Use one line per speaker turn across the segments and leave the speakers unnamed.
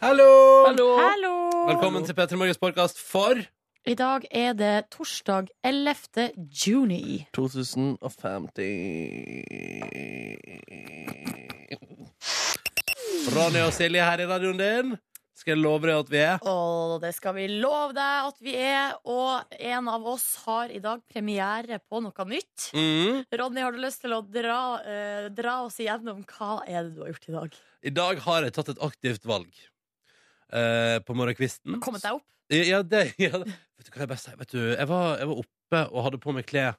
Hallo!
Hallo!
Velkommen til P3 Morgens podkast for
I dag er det torsdag 11. juni.
2050 Ronny og Silje her i radioen din. Skal jeg love deg at vi er?
Og det skal vi love deg at vi er. Og en av oss har i dag premiere på noe nytt.
Mm.
Ronny, har du lyst til å dra, eh, dra oss igjennom hva er det du har gjort i dag?
I dag har jeg tatt et aktivt valg. Eh, på morgenkvisten.
Kommet deg opp?
Ja, det, ja. Vet du hva jeg bare sier? Vet du, jeg var, jeg var oppe og hadde på meg klær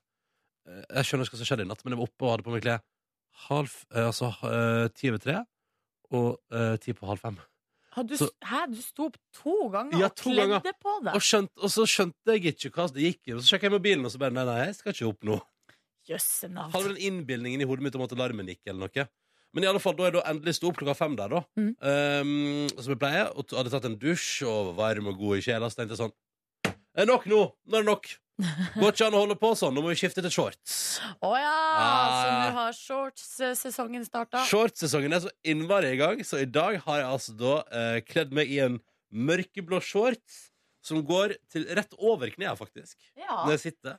Eh, Jeg skjønner ikke hva som skjedde i natt, men jeg var oppe og hadde på meg klær halv eh, Altså eh, ti over tre og eh, ti på halv fem.
Har du,
Så-
hæ, du sto opp to ganger
Ja,
og
to
kledde
ganger.
på
Og,
deg?
skjønt, og så skjønte jeg ikke hva det gikk i. Og så sjekka jeg mobilen, og så bare nei, nei, jeg skal ikke opp nå.
Jøsse navn.
Hadde den innbildningen i hodet mitt om at alarmen gikk, eller noe. Men i alle fall, da jeg da endelig sto opp klokka fem der, da,
Mhm.
ehm, som jeg pleier, og t- hadde tatt en dusj og var varm og god i sjela, så tenkte jeg sånn Er nok nå! Nå er det nok! Går ikke an å holde på sånn, nå må vi skifte til shorts.
Å ja! Så
Ah.
nå har shorts-sesongen starta.
Shortsesongen er så innmari i gang, så i dag har jeg altså da eh, kledd meg i en mørkeblå shorts som går til rett over knærne, faktisk.
Ja.
når jeg sitter.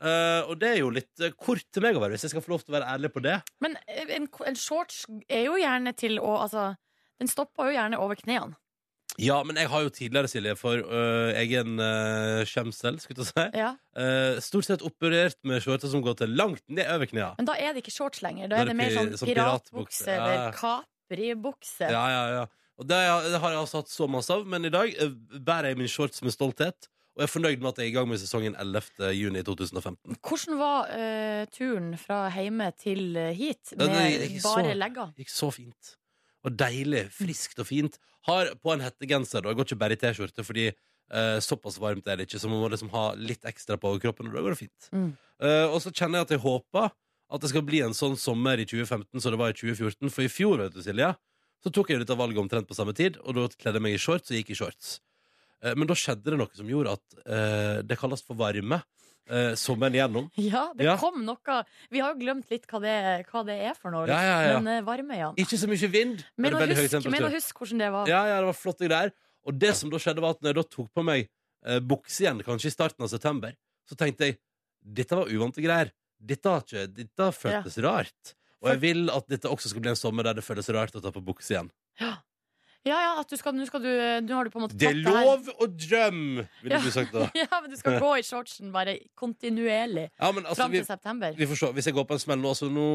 Eh, og det er jo litt eh, kort til meg å være, hvis jeg skal få lov til å være ærlig på det.
Men eh, en, en shorts er jo gjerne til å Altså, den stopper jo gjerne over knærne.
Ja, men jeg har jo tidligere, Silje, for eh, egen eh, skjemsel, skulle jeg til å si,
Ja.
eh, stort sett operert med shorter som går til langt ned over knærne.
Men da er det ikke shorts lenger. Da
Da
er det, mer
pi-
sånn
sånn piratbukse,
piratbukse
ja, ja.
eller kapribukse.
Ja, ja, ja. Og det, har- det har jeg altså hatt så masse av, men i dag eh, bærer jeg min shorts med stolthet. Og jeg er fornøyd med at jeg er i gang med sesongen 11. juni 2015.
Hvordan var eh, turen fra hjemme til eh, hit
Ja,
med
det gikk så-
bare legger?
Gikk så fint. Og deilig. Friskt og fint. Har på en hettegenser, da. Jeg går ikke bare i T-skjorte, fordi eh, såpass varmt er det ikke, så man må liksom ha litt ekstra på overkroppen, og da går det fint.
Mm.
Eh, og så kjenner jeg at jeg håper at det skal bli en sånn sommer i 2015 som det var i 2014, for i fjor, vet du, Silje, så tok jeg jo dette valget omtrent på samme tid, og da kledde jeg meg i shorts og gikk i shorts. Eh, men da skjedde det noe som gjorde at eh, det kalles for varme eh, sommeren igjennom.
Ja, det
Ja.
kom noe Vi har jo glemt litt hva det, hva det er for noe.
Ja, ja, ja.
Men eh, varme, ja.
Ikke så mye vind,
Men å
veldig høy
huske, men
temperatur.
å huske hvordan det var.
Ja, ja, det var flotte greier. Og det som da skjedde, var at når jeg da tok på meg eh, bukse igjen, kanskje i starten av september, så tenkte jeg dette var uvante greier. Dette, har ikke, dette føltes rart. Og jeg vil at dette også skal bli en sommer der det føles rart å ta på bukse igjen.
Ja, ja, at du skal, nå skal du eh, Nå har du på en måte
Det er
tatt her.
lov å drømme,
Ja.
ville du sagt da.
Ja, men du skal gå i shortsen bare kontinuerlig
Ja, men altså,
fram
vi,
til september.
vi får se. Hvis jeg går på en smell nå, så nå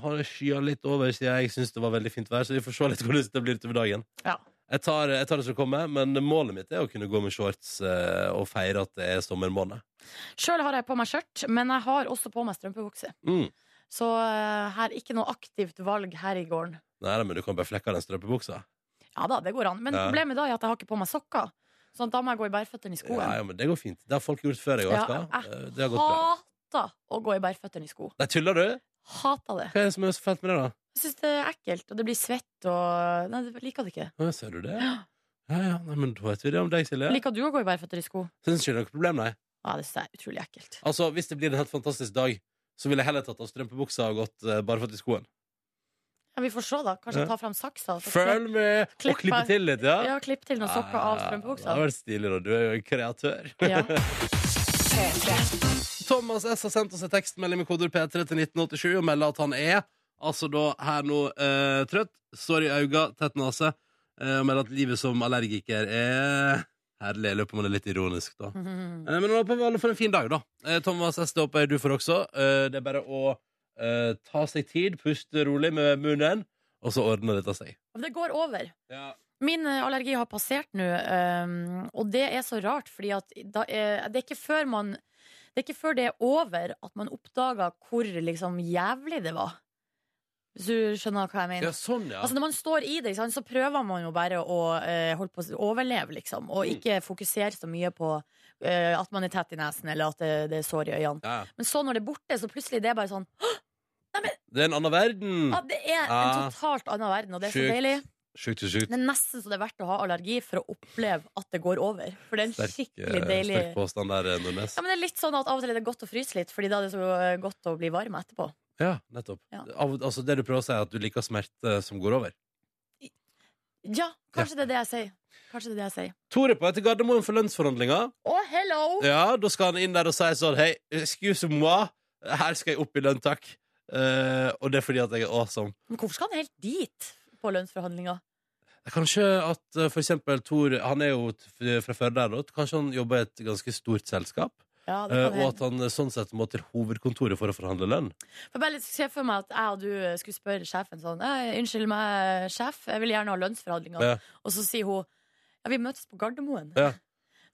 har jeg skya litt over, siden jeg syns det var veldig fint vær, så vi får se litt hvordan det blir utover dagen.
Ja.
Jeg tar, jeg tar det som kommer, men målet mitt er å kunne gå med shorts eh, og feire at det er sommermåned.
Sjøl har jeg på meg skjørt, men jeg har også på meg strømpebukse.
Mm.
Så eh, her ikke noe aktivt valg her i gården.
Nei, nei, men du kan bare flekke av den strømpebuksa.
Ja da, det går an. Men
Ja.
problemet da er at jeg har ikke på meg sokker. Sånn at da må jeg gå i bærføttene i skoen.
Ja, ja, men det går fint. Det har folk gjort før. Jeg, vet du
ah.
hva? Eh, det har gått bra.
hater å gå i bærføttene i sko.
Nei, tuller du?
Hater det.
Hva er det som er så fælt med det, da?
Jeg syns det er ekkelt, og det blir svett og Nei, jeg liker det ikke.
Å, ser du det? Ja, ja, nei, men da vet vi det om deg, Silje.
Liker du å gå i bærføtter i sko?
Syns ikke det er noe problem, nei.
Ja, det syns jeg er utrolig ekkelt.
Altså, Hvis det blir en helt fantastisk dag, så ville jeg heller tatt av strømpebuksa og gått eh, barføtt i skoen.
Ja, vi får se, da. Kanskje
Ja.
ta fram saksa. og så klipp-
Følg med og
klipp
klippe
meg.
til litt, ja.
Ja, klipp til noen sokker av
Ja, Ah, Det
strømpebuksa.
hadde vært stilig, da. Du er jo en kreatør.
Ja.
Thomas S har sendt oss en tekstmelding med kodeord P3 til 1987 og melder at han er altså da her nå eh, trøtt, sår i øynene, tett nese, eh, og melder at livet som allergiker er herlig. Jeg lurer på om han er litt ironisk, da.
Mhm.
Eh, men han håper vi alle får en fin dag, da. Eh, Thomas S, det håper jeg du får også. Eh, det er bare å eh, ta seg tid, puste rolig med munnen, og så ordner dette seg.
Men det går over.
Ja.
Min eh, allergi har passert nå, ehm, og det er så rart, fordi at da er, det er ikke før man Det er ikke før det er over at man oppdager hvor liksom jævlig det var. Hvis du skjønner hva jeg mener?
sånn, ja.
Altså Når man står i det, ikke sant, så prøver man jo bare å eh, holde på å s- overleve, liksom. Og
Mm.
ikke fokusere så mye på eh, at man er tett i nesen, eller at det, det er sår i øynene.
ja.
Men så når det er borte, så plutselig det er bare sånn
Det er en annen verden.
ah, Det er
Ah.
en totalt annen verden, og det er så
Sjukt.
deilig.
Sjukt, sjukt, sjukt.
Det er nesten så det er verdt å ha allergi for å oppleve at det går over. For det er en
Sterk, eh,
skikkelig deilig
sterk påstand der, eh, Nordnes.
ja, men det er litt sånn at Av og til er det godt å fryse litt, Fordi da er det så eh, godt å bli varm etterpå.
Ja, nettopp.
Ja.
Av, altså, det du prøver å si, er at du liker smerte som går over.
Ja, kanskje det er det jeg sier. Kanskje det er det jeg sier.
Tore på etter Gardermoen for lønnsforhandlinger.
Å, hello!
Ja, da skal han inn der og si sånn Hei, excuse moi, her skal jeg opp i lønn, takk. Eh, og det er fordi at jeg er awesome.
Men hvorfor skal han helt dit på lønnsforhandlinger?
Kanskje at eh, for eksempel Tor Han er jo t- fra Førde, her da. Kanskje han jobber i et ganske stort selskap.
Ja, det
eh,
kan
og
hende.
at han eh, sånn sett må til hovedkontoret for å forhandle lønn.
For bare litt Se for meg at jeg og du skulle spørre sjefen sånn «Eh, Unnskyld meg, sjef, jeg vil gjerne ha lønnsforhandlinger.
Ja.
Og så sier hun ja, vi møtes på Gardermoen.
Ja.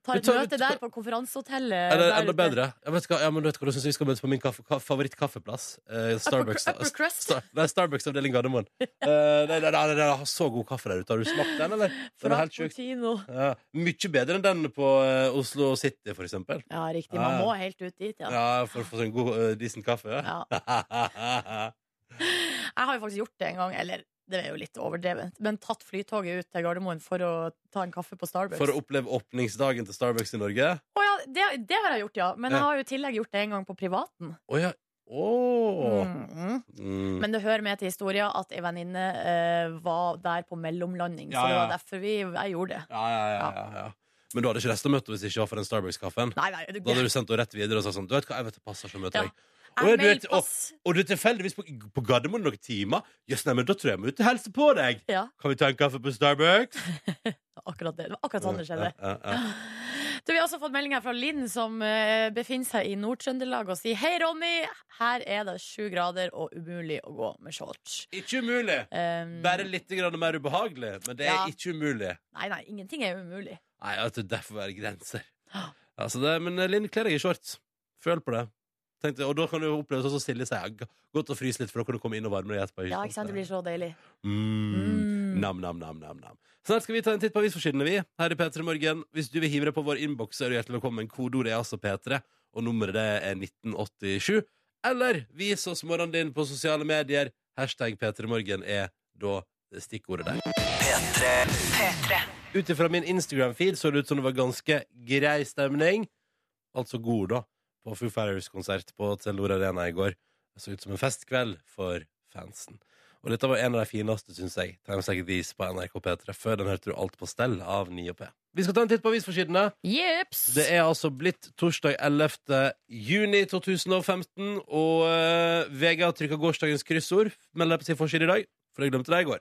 Tar et
Vi tar- vi
møte
tar-
der på konferansehotellet.
Eller
der
enda
ute.
bedre. Jeg vet hva, ja, men du vet hva du syns vi skal møtes på min kaffe, ka, favorittkaffeplass? Eh,
Upper,
Starbucks.
upper crust.
Star, nei, Starbucks avdeling Gardermoen. Eh, nei, nei, nei, nei, nei, har så god kaffe der ute. Har du smakt den, eller? Den er
Fra
helt sjuk.
Portino.
Ja, mye bedre enn den på eh, Oslo City, for eksempel.
Ja, riktig. Man
Ja.
må helt ut dit, ja.
Ja, for å få sånn god, eh, decent kaffe. Ja.
ja. Jeg har jo faktisk gjort det en gang, eller det er jo litt overdrevent, men tatt flytoget ut til Gardermoen for å ta en kaffe på Starbucks.
for å oppleve åpningsdagen til Starbucks i Norge.
Å ja, det, det har jeg gjort, ja. Men
Ja.
jeg har jo i tillegg gjort det en gang på privaten.
Å ja. Å.
Mhm.
Mm.
Men det hører med til historien at ei venninne eh, var der på mellomlanding,
Ja,
så det
ja.
var derfor vi, jeg gjorde det.
Ja, ja, ja, ja, ja. Men du hadde ikke lyst til å møte henne hvis ikke det var for den Starbucks-kaffen?
Nei, nei, det,
Da hadde du sendt henne rett videre og sagt sånn Du vet hva, jeg vet det passer ikke å møte
Ja.
deg. Å, ja, du vet-
mailpass.
Og du er tilfeldigvis på, på Gardermoen noen timer? Jøss, nei, men da tror jeg jeg må ut og hilse på deg!
Ja,
Kan vi ta en kaffe på Starbucks?
akkurat det. Det var akkurat sånn det skjedde.
Ja, ja, ja.
Du, vi har også fått melding her fra Linn, som eh, befinner seg i Nord-Trøndelag og sier Hei, Ronny! Her er det sju grader og umulig å gå med shorts.
Ikke umulig!
Um,
Bare litt grann mer ubehagelig, men det er
Ja.
ikke umulig.
Nei, nei, ingenting er umulig.
Nei, jeg tror derfor være grenser.
Ja.
Altså det, men eh, Linn, kle deg i shorts. Føl på det. Tenk det, og da kan du oppleve sånn som Silje sier. ja, g- Godt å fryse litt, for da kan du komme inn og varme deg etterpå.
Ja, ikke sant? Det blir så deilig.
mm.
Mm.
Nam, nam, nam, nam, nam. Snart skal vi ta en titt på avisforsidene, vi. Her i P3 Morgen. Hvis du vil hive deg på vår innboks, så er du hjertelig velkommen. Kodeordet er altså P3, og nummeret det er 1987. Eller vis oss morgenen din på sosiale medier. Hashtag P3morgen er da stikkordet der. Ut ifra min Instagram-feed så det ut som det var ganske grei stemning. Altså god, da. På Foo Fighters-konsert på Telenor Arena i går. Det så ut som en festkveld for fansen. Og dette var en av de fineste, syns jeg. Times Like These på NRK P3. Før den hørte du alt på stell av 9P. Vi skal ta en titt på avisforsidene.
Jeps!
Det er altså blitt torsdag 11. juni 2015, og eh, VG har trykka gårsdagens kryssord, melder jeg på sin forside i dag, for jeg glemte det i går.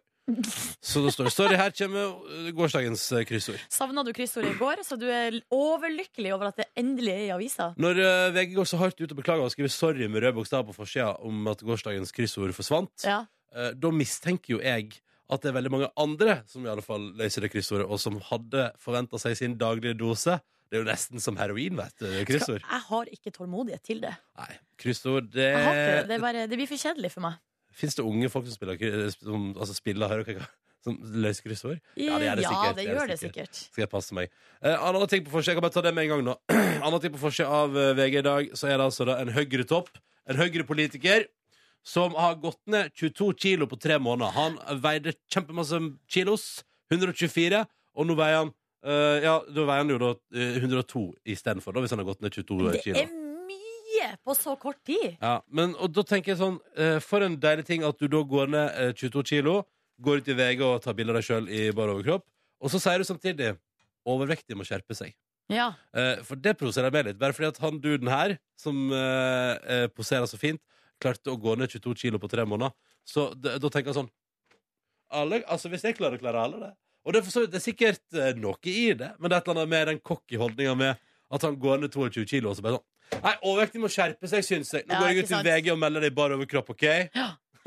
Så da står det sorry, her kommer eh, gårsdagens eh, kryssord.
Savna du kryssordet i går, så du er l- overlykkelig over at det endelig er i avisa.
Når eh, VG går så hardt ut og beklager og skriver sorry med rød bokstav på forsida om at gårsdagens kryssord forsvant,
Ja.
eh, da mistenker jo jeg at det er veldig mange andre som i alle fall løser det kryssordet, og som hadde forventa seg sin daglige dose. Det er jo nesten som heroin, vet du. Kryssord.
Jeg har ikke tålmodighet til det.
Nei, kryssord, det,
Jeg har ikke det. Det, er bare, det blir for kjedelig for meg.
Fins det unge folk som spiller, kry- som, altså spiller hører dere hva- som løser kryssord? Ja, det er det
Ja,
sikkert,
det
det er
gjør det
det
sikkert.
Skal jeg passe meg. Eh, andre ting på forsida, jeg kan bare ta det med en gang nå. andre ting på forsida av eh, VG i dag, så er det altså da en Høyre-topp, en Høyre-politiker, som har gått ned 22 kilo på tre måneder. Han veide kjempemasse kilos, 124, og nå veier han eh, ja, da veier han jo da eh, 102 istedenfor, da, hvis han har gått ned 22
Det
kilo.
er mye på så kort tid!
Ja, men, og da tenker jeg sånn eh, For en deilig ting at du da går ned eh, 22 kilo Går ut i VG og tar bilder av deg selv i bar overkropp Og så sier du samtidig Overvektig må skjerpe seg
Ja.
Eh, For det provoserer meg litt Bare fordi at han duden her Som eh, eh, poserer så fint Klarte å gå ned 22 kilo på tre måneder Så d- da tenker jeg sånn alle, Altså hvis jeg klarer å klare alle det Og det er, for så vidt- det er sikkert eh, noe i det Men det er et eller annet med den kokkeholdningen med At han går ned 22 kilo og så bare sånn Nei, overvektig må skjerpe seg, syns jeg. Nå
Ja,
går jeg
ikke
ut til
sant.
VG og melder deg bare over kropp, OK?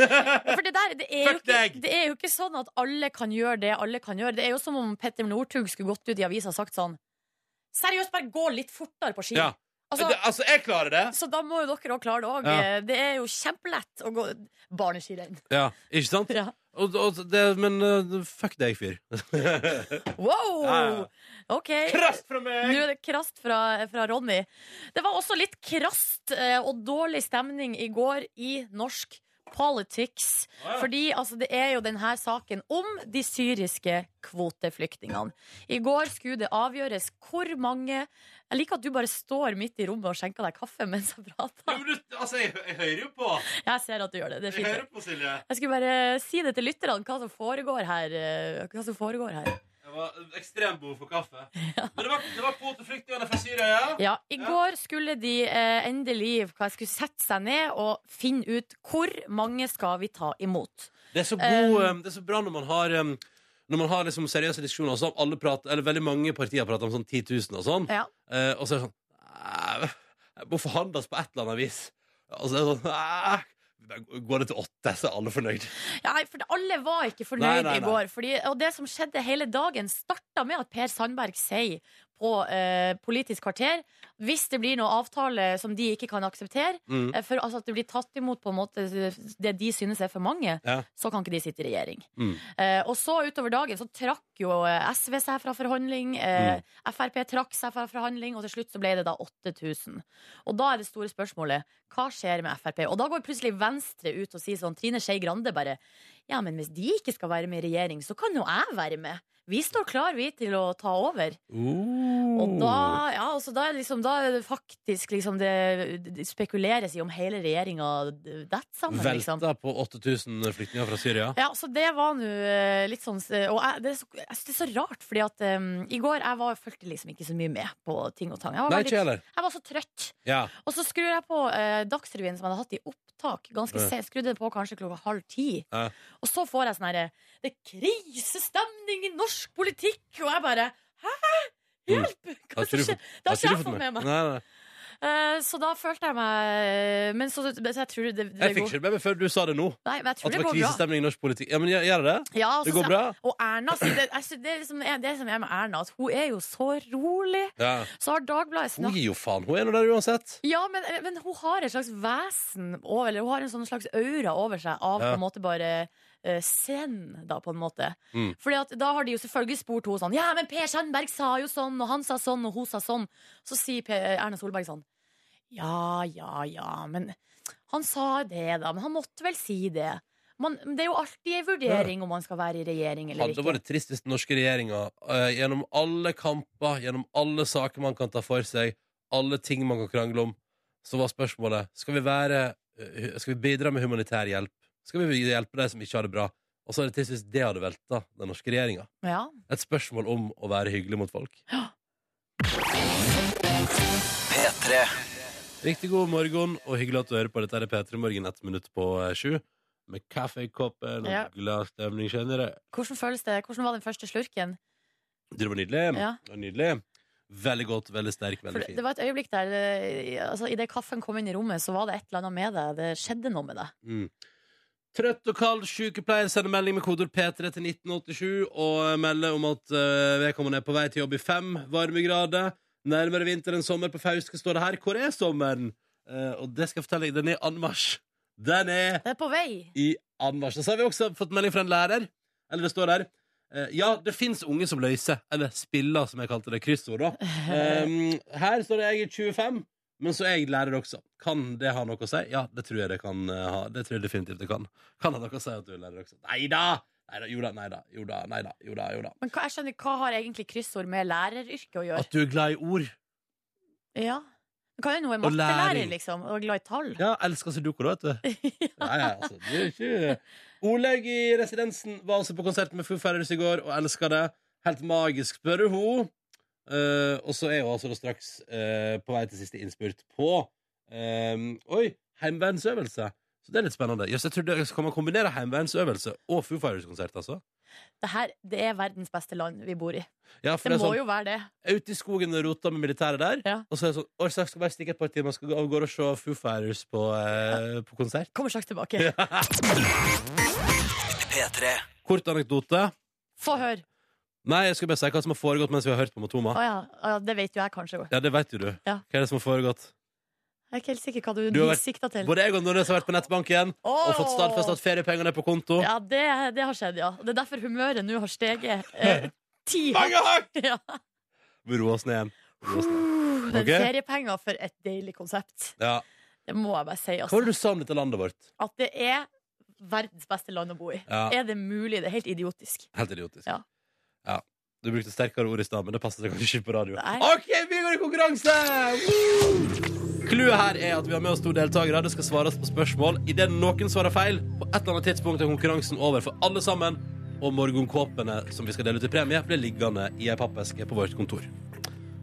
Ja, For det der, det er, jo
Fuck
ikke,
deg!
det er jo ikke sånn at alle kan gjøre det alle kan gjøre. Det er jo som om Petter Northug skulle gått ut i avisa og sagt sånn Seriøst, bare gå litt fortere på ski.
Ja.
Altså,
Det- altså, jeg klarer det!
så da må jo dere òg klare det òg.
Ja.
Det er jo kjempelett å gå barneskirenn.
Ja, ikke sant?
Ja.
Og, og det, men eh, fuck deg, fyr. Ja,
Wow!
ja.
OK.
Krast fra
Nå
meg!
er det krast fra, fra Ronny. Det var også litt krast eh, og dårlig stemning i går i norsk politics. Fordi altså, det er jo denne saken om de syriske kvoteflyktningene. I går skulle det avgjøres hvor mange Jeg liker at du bare står midt i rommet og skjenker deg kaffe mens jeg prater.
altså, jeg, hører jo på.
Jeg ser at du gjør det. Det er fint.
på, Silje.
Jeg skulle bare si det til lytterne, hva som foregår her. eh, Hva som foregår her.
Jeg var ekstremt behov for kaffe. Men det var, det var kvoteflyktningene fra Syria, ja?
Ja, I
Ja.
går skulle de eh, endelig hva jeg skulle sette seg ned og finne ut hvor mange skal vi ta imot.
Det er så, god, um, det er så bra når man har um, når man har liksom seriøse diskusjoner og sånn, alle prater, eller veldig mange partier prater om sånn 10 000 og sånn,
Ja.
eh, og så er det sånn "Nei, Det må forhandles på et eller annet vis. Og så er det sånn "Nei, da Går det til åtte, så er alle fornøyd.
Ja, nei, for alle var ikke fornøyd
Nei, nei, nei.
i går. Fordi, og det som skjedde hele dagen, starta med at Per Sandberg sier på eh, Politisk kvarter hvis det blir noe avtale som de ikke kan akseptere,
Mm.
eh, for altså, at det blir tatt imot på en måte eh, det de synes er for mange,
Ja.
så kan ikke de sitte i regjering.
Mm.
Eh, og så utover dagen så trakk jo eh, SV seg fra forhandling, eh, Frp trakk seg fra forhandling, og til slutt så ble det da 8000. Og da er det store spørsmålet hva skjer med Frp? Og da går plutselig Venstre ut og sier sånn Trine Skei Grande bare ja, men hvis de ikke skal være med i regjering, så kan jo jeg være med. Vi står klar, vi, til å ta over.
Oh.
Og da, ja, altså, da, er det liksom, da er det faktisk liksom det, det spekuleres i om hele regjeringa detter sammen, liksom.
Velta på 8000 flyktninger fra Syria.
Ja, så det var nå eh, litt sånn eh, Og jeg, det, er så, jeg synes det er så rart, fordi at eh, i går jeg var, følte liksom ikke så mye med på ting og tang. Jeg var,
Nei,
veldig,
ikke heller.
jeg var så trøtt.
Ja.
Og så skrur jeg på eh, Dagsrevyen som jeg hadde hatt i opptak. Ganske
Ja.
se, Skrudde det på kanskje klokka halv ti.
Ja.
Og så får jeg sånn herre Det er krisestemning i norsk politikk! Og jeg bare Hæ? Hjelp! Hva som
Mm. Har ikke du
skjer?
fått-
Det har ikke
du
jeg fått med meg.
Nei, nei.
Eh, så da følte jeg meg eh, Men så, så jeg tror det, det
Jeg fikk
går
ikke det med meg før du sa det nå.
Nei, men jeg tror
At
det,
det
går
var
bra.
krisestemning i norsk politikk. Ja, men gjør- gjør det det?
Ja, og
Det
så-
går bra?
Og Erna, så det, jeg synes det, er liksom, det som er med Erna, at hun er jo så rolig.
Ja.
Så har Dagbladet
Hun
snakket
gir jo faen. Hun er nå der uansett.
Ja, men, men hun har et slags vesen over, Eller hun har en sånn slags aura over seg av
Ja.
på en måte bare eh, Zen, da, på en måte.
Mm.
Fordi at da har de jo selvfølgelig spurt henne sånn Ja, men Per Sandberg sa jo sånn, og han sa sånn, og hun sa sånn. Så sier P Erna Solberg sånn Ja, ja, ja, men han sa det, da. Men han måtte vel si det. Man, det er jo alltid en vurdering om man skal være i regjering eller
Hadde
ikke.
vært trist hvis den norske regjeringa eh, gjennom alle kamper, gjennom alle saker man kan ta for seg, alle ting man kan krangle om, så var spørsmålet Skal vi være eh, Skal vi bidra med humanitær hjelp? Skal vi hjelpe de som ikke har det bra? Og så er det trist hvis det hadde velta den norske regjeringa.
Ja.
Et spørsmål om å være hyggelig mot folk. Riktig god morgen, og hyggelig at du hører på. Dette er P3 Morgen ett minutt på eh, sju. Med kaffekoppen og
Ja.
glad stemning generelt.
Hvordan føles det? Hvordan var den første slurken?
Det var nydelig.
Ja.
Det var nydelig. Veldig godt, veldig sterk,
For
veldig
det
fin.
det var et øyeblikk der eh, altså, Idet kaffen kom inn i rommet, så var det et eller annet med deg. Det skjedde noe med deg.
Mm. Trøtt og kald sykepleier sender melding med kodord P3 til 1987 og melder om at eh, vedkommende er på vei til jobb i fem varmegrader. Nærmere vinter enn sommer på Fauske står det her. Hvor er sommeren? Eh, og det skal jeg fortelle deg, den er i anmarsj. Den er
Det er på vei.
i anmarsj. Så har vi også fått melding fra en lærer. Eller det står der. eh, Ja, det fins unge som løser, eller spiller, som jeg kalte det. Kryssord, da. Um, her står det jeg er 25, men så er jeg lærer også. Kan det ha noe å si? Ja, det tror jeg det kan eh, ha. Det tror jeg definitivt det kan. Kan ha noe å si at du er lærer også? Nei da! Neida, Jo da, nei da, jo da, nei da, jo da, jo da.
Men hva, jeg skjønner, hva har egentlig kryssord med læreryrket å gjøre?
At du er glad i ord.
Ja. Det kan jo noe
Og
mattelærer,
læring.
liksom. Og glad i tall.
Ja, elsker sudoku, da, vet du. Nei, altså, det er ikke Olaug i Residensen var altså på konsert med Foo Fighters i går og elska det. Helt magisk, spør du hun. Eh, og så er hun altså da straks eh, på vei til siste innspurt på eh, Oi, heimeværensøvelse. Så det er litt spennende. Jøss, jeg trodde Kan man kombinere heimeværensøvelse og Foo Fighters-konsert, altså?
Det her det er verdens beste land vi bor i.
Ja, for
Det
det er
må
sånn,
jo være det.
jeg er ute i skogen og roter med militæret der,
Ja.
og så er det sånn Oi, så jeg skal bare stikke et par timer, skal gå av gårde og se Foo Fighters på, eh, på konsert.
Kommer straks tilbake.
Kort anekdote.
Få høre.
Nei, jeg skal bare si hva som har foregått mens vi har hørt på Matoma.
Å ja. Å ja, det vet jo jeg kanskje.
Ja, det vet jo du.
Ja.
Hva er det som har foregått?
Jeg er ikke helt sikker hva du,
Du har vært-
sikta til.
Både jeg og Nordnes har vært på nettbanken og fått stadfestet at feriepengene er på konto.
Ja, det, det har skjedd, ja. Og Det er derfor humøret nå har steget eh, ti
Mange hakk!
Ja.
Vi roer oss ned igjen. Vi roer oss ned.
Uh, det er
Ok.
feriepenger for et deilig konsept.
Ja.
Det må jeg bare si.
Hva var
Altså.
det du sa om dette landet vårt?
At det er verdens beste land å bo i.
Ja,
Er det mulig? Det er helt idiotisk.
helt idiotisk.
Ja.
Ja. Du brukte sterkere ord i stad, men det passet kanskje ikke på radio.
Nei.
OK, vi går i konkurranse! Woo! Clouet her er at vi har med oss to deltakere. Det skal svares på spørsmål. Idet noen svarer feil, på et eller annet tidspunkt er konkurransen over for alle sammen. Og morgenkåpene som vi skal dele ut i premie, blir liggende i ei pappeske på vårt kontor.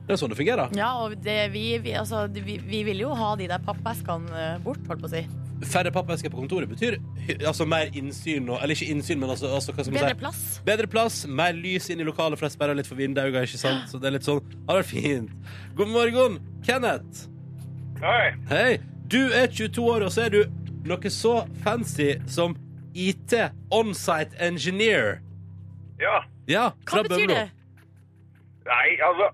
Det er sånn det fungerer.
Ja, og det, vi, vi, altså, vi, vi vil jo ha de der pappeskene eh, bort, holdt på å si.
Færre pappesker på kontoret betyr hy- altså mer innsyn og Eller ikke innsyn, men altså, altså hva skal man
Bedre
si?
plass.
Bedre plass, mer lys inn i lokalet, for jeg sperrer litt for vinduene, ikke sant? Så det er litt sånn Ja, det er fint. God morgen, Kenneth.
Hei.
Hei. Du er 22 år, og så er du noe så fancy som IT Onsite Engineer.
Ja.
Ja,
Hva
fra
betyr
Bømlo.
det?
Nei, altså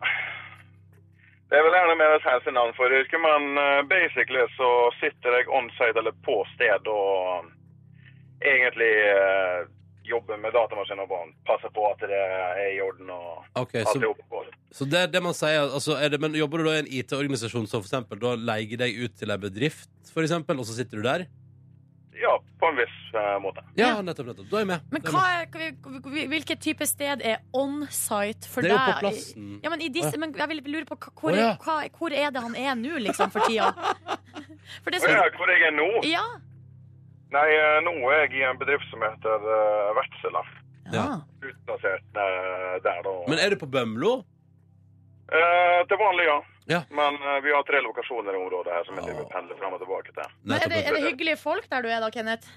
Det er vel gjerne mer et fancy navn for yrket, men eh, basically så sitter jeg onsite eller på sted og um, egentlig eh, jobber med datamaskiner og barn. Passer på at det er i orden og
Ok,
at det
så,
er oppegående.
så det er det man sier. Altså, er det, men jobber du da i en IT-organisasjon som for eksempel da leier deg ut til ei bedrift, for eksempel, og så sitter du der?
Ja, på en viss eh, måte.
Ja,
Ja.
nettopp, nettopp. Da er jeg med.
Men
Da er jeg
hva er, hva- hva- hvilket type sted er onsite for
Det
deg?
er jo på plassen.
Ja, men, i disse, men jeg vil lure på hva, hvor,
Å, ja.
hva, hvor er det han er nå, liksom, for tida? For det
Og ja,
er så,
hvor jeg er nå?
ja.
Nei, eh, nå er jeg i en bedrift som heter uh, Vertsela.
Ja.
Utplassert eh, der, da.
Men er du på Bømlo?
Eh, til vanlig, ja.
Ja.
Men eh, vi har tre lokasjoner i området her som vi
Ja.
driver og pendler fram og tilbake til.
Men er, det,
Nettopp.
er det hyggelige folk der du er da, Kenneth?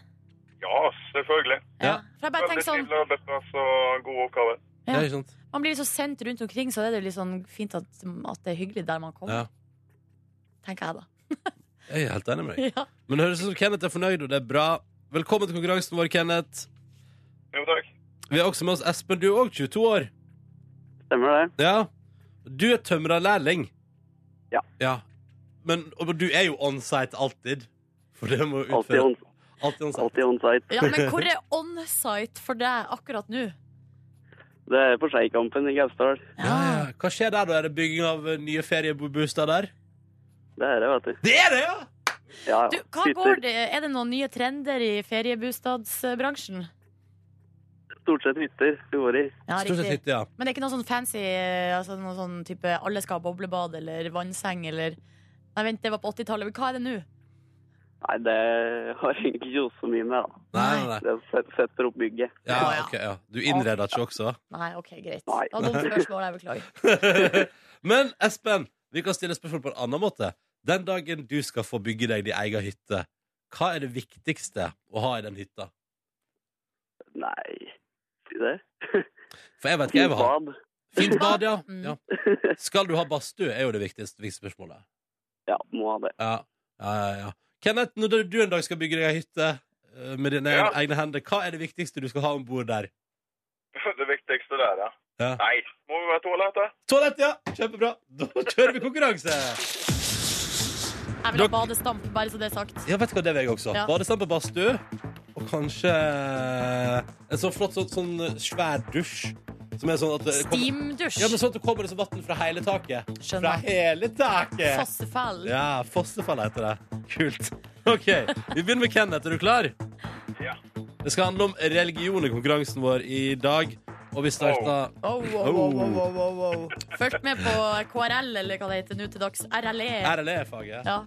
Ja, selvfølgelig.
Ja.
For jeg bare
Veldig
tenker sånn,
trivelig arbeidsplass og gode oppgaver.
Ja,
Ja.
ikke sant?
Man blir liksom sendt rundt omkring, så er det jo litt sånn fint at, at det er hyggelig der man kommer.
Ja.
Tenker jeg, da.
Jeg er helt enig med deg.
Ja.
Men det høres ut som Kenneth er fornøyd, og det er bra. Velkommen til konkurransen vår, Kenneth.
Jo, takk.
Vi har også med oss Espen. Du er òg 22 år.
Stemmer det.
Ja. Du er tømrerlærling.
Ja.
ja. Men og du er jo onsite alltid. For det må
Alltid
utføre
on,
Alltid onsite.
alltid on site.
ja, Men hvor er onsite for deg akkurat nå?
Det er på Skeikampen i Gausdal.
Ja, ja. Hva skjer der, da? Er det bygging av eh, nye feriebosteder der?
Det er det, vet du.
Det er det, ja!
Ja,
Du, hva går det? Er det noen nye trender i feriebostadsbransjen?
Stort sett hytter du går i.
Ja,
Stort sett
riktig.
hytte, ja.
Men det er ikke noe sånn fancy altså noe sånn type alle skal ha boblebad eller vannseng eller Nei, vent, det var på 80-tallet. Men Hva er det nå?
Nei, det har egentlig ikke gjort så mye med, da.
Nei, nei, nei.
Det set- setter opp bygget.
Ja,
Ja, ja.
ok, ja. Du innreder ikke også?
Nei, OK, greit.
Nei.
Det var dumt spørsmål, jeg beklager.
Men Espen, vi kan stille spørsmål på en annen måte. Den dagen du skal få bygge deg din egen hytte, hva er det viktigste å ha i den hytta?
Nei, si det.
For jeg vet hva jeg vil ha.
Bad.
Fint bad, ja.
Mm.
ja. Skal du ha badstue, er jo det viktigste, viktigste spørsmålet.
Ja, må ha det.
Ja. Ja, ja, ja. Kenneth, når du- du en dag skal bygge deg ei hytte eh, med dine
Ja.
egne hender, hva er det viktigste du skal ha om bord der?
Det viktigste der, ja.
Ja.
Nei, må vi være toalett, da?
Toalett, ja! Kjempebra! Da kjører vi konkurranse!
Jeg vil ha
Dere-
badestamp, bare så det er sagt.
Ja, vet du hva, det vil jeg også.
Ja.
Badestamp og badstue. Og kanskje en sånn flott sånn, sånn svær dusj. Som er sånn at det kommer-
Steamdusj.
Ja, men sånn at det kommer liksom vann fra hele taket.
Skjønner.
Fra hele taket!
Fossefall.
Ja, Fossefall heter det. Kult. OK, vi begynner med Kenneth. Er du klar?
Ja.
Det skal handle om religion i konkurransen vår i dag. Og vi starter
Oh, wow, wow, wow, wow, wow, wow. Følg med på KRL, eller hva det heter nå til dags. RLE.
E. RLE-faget.
Ja.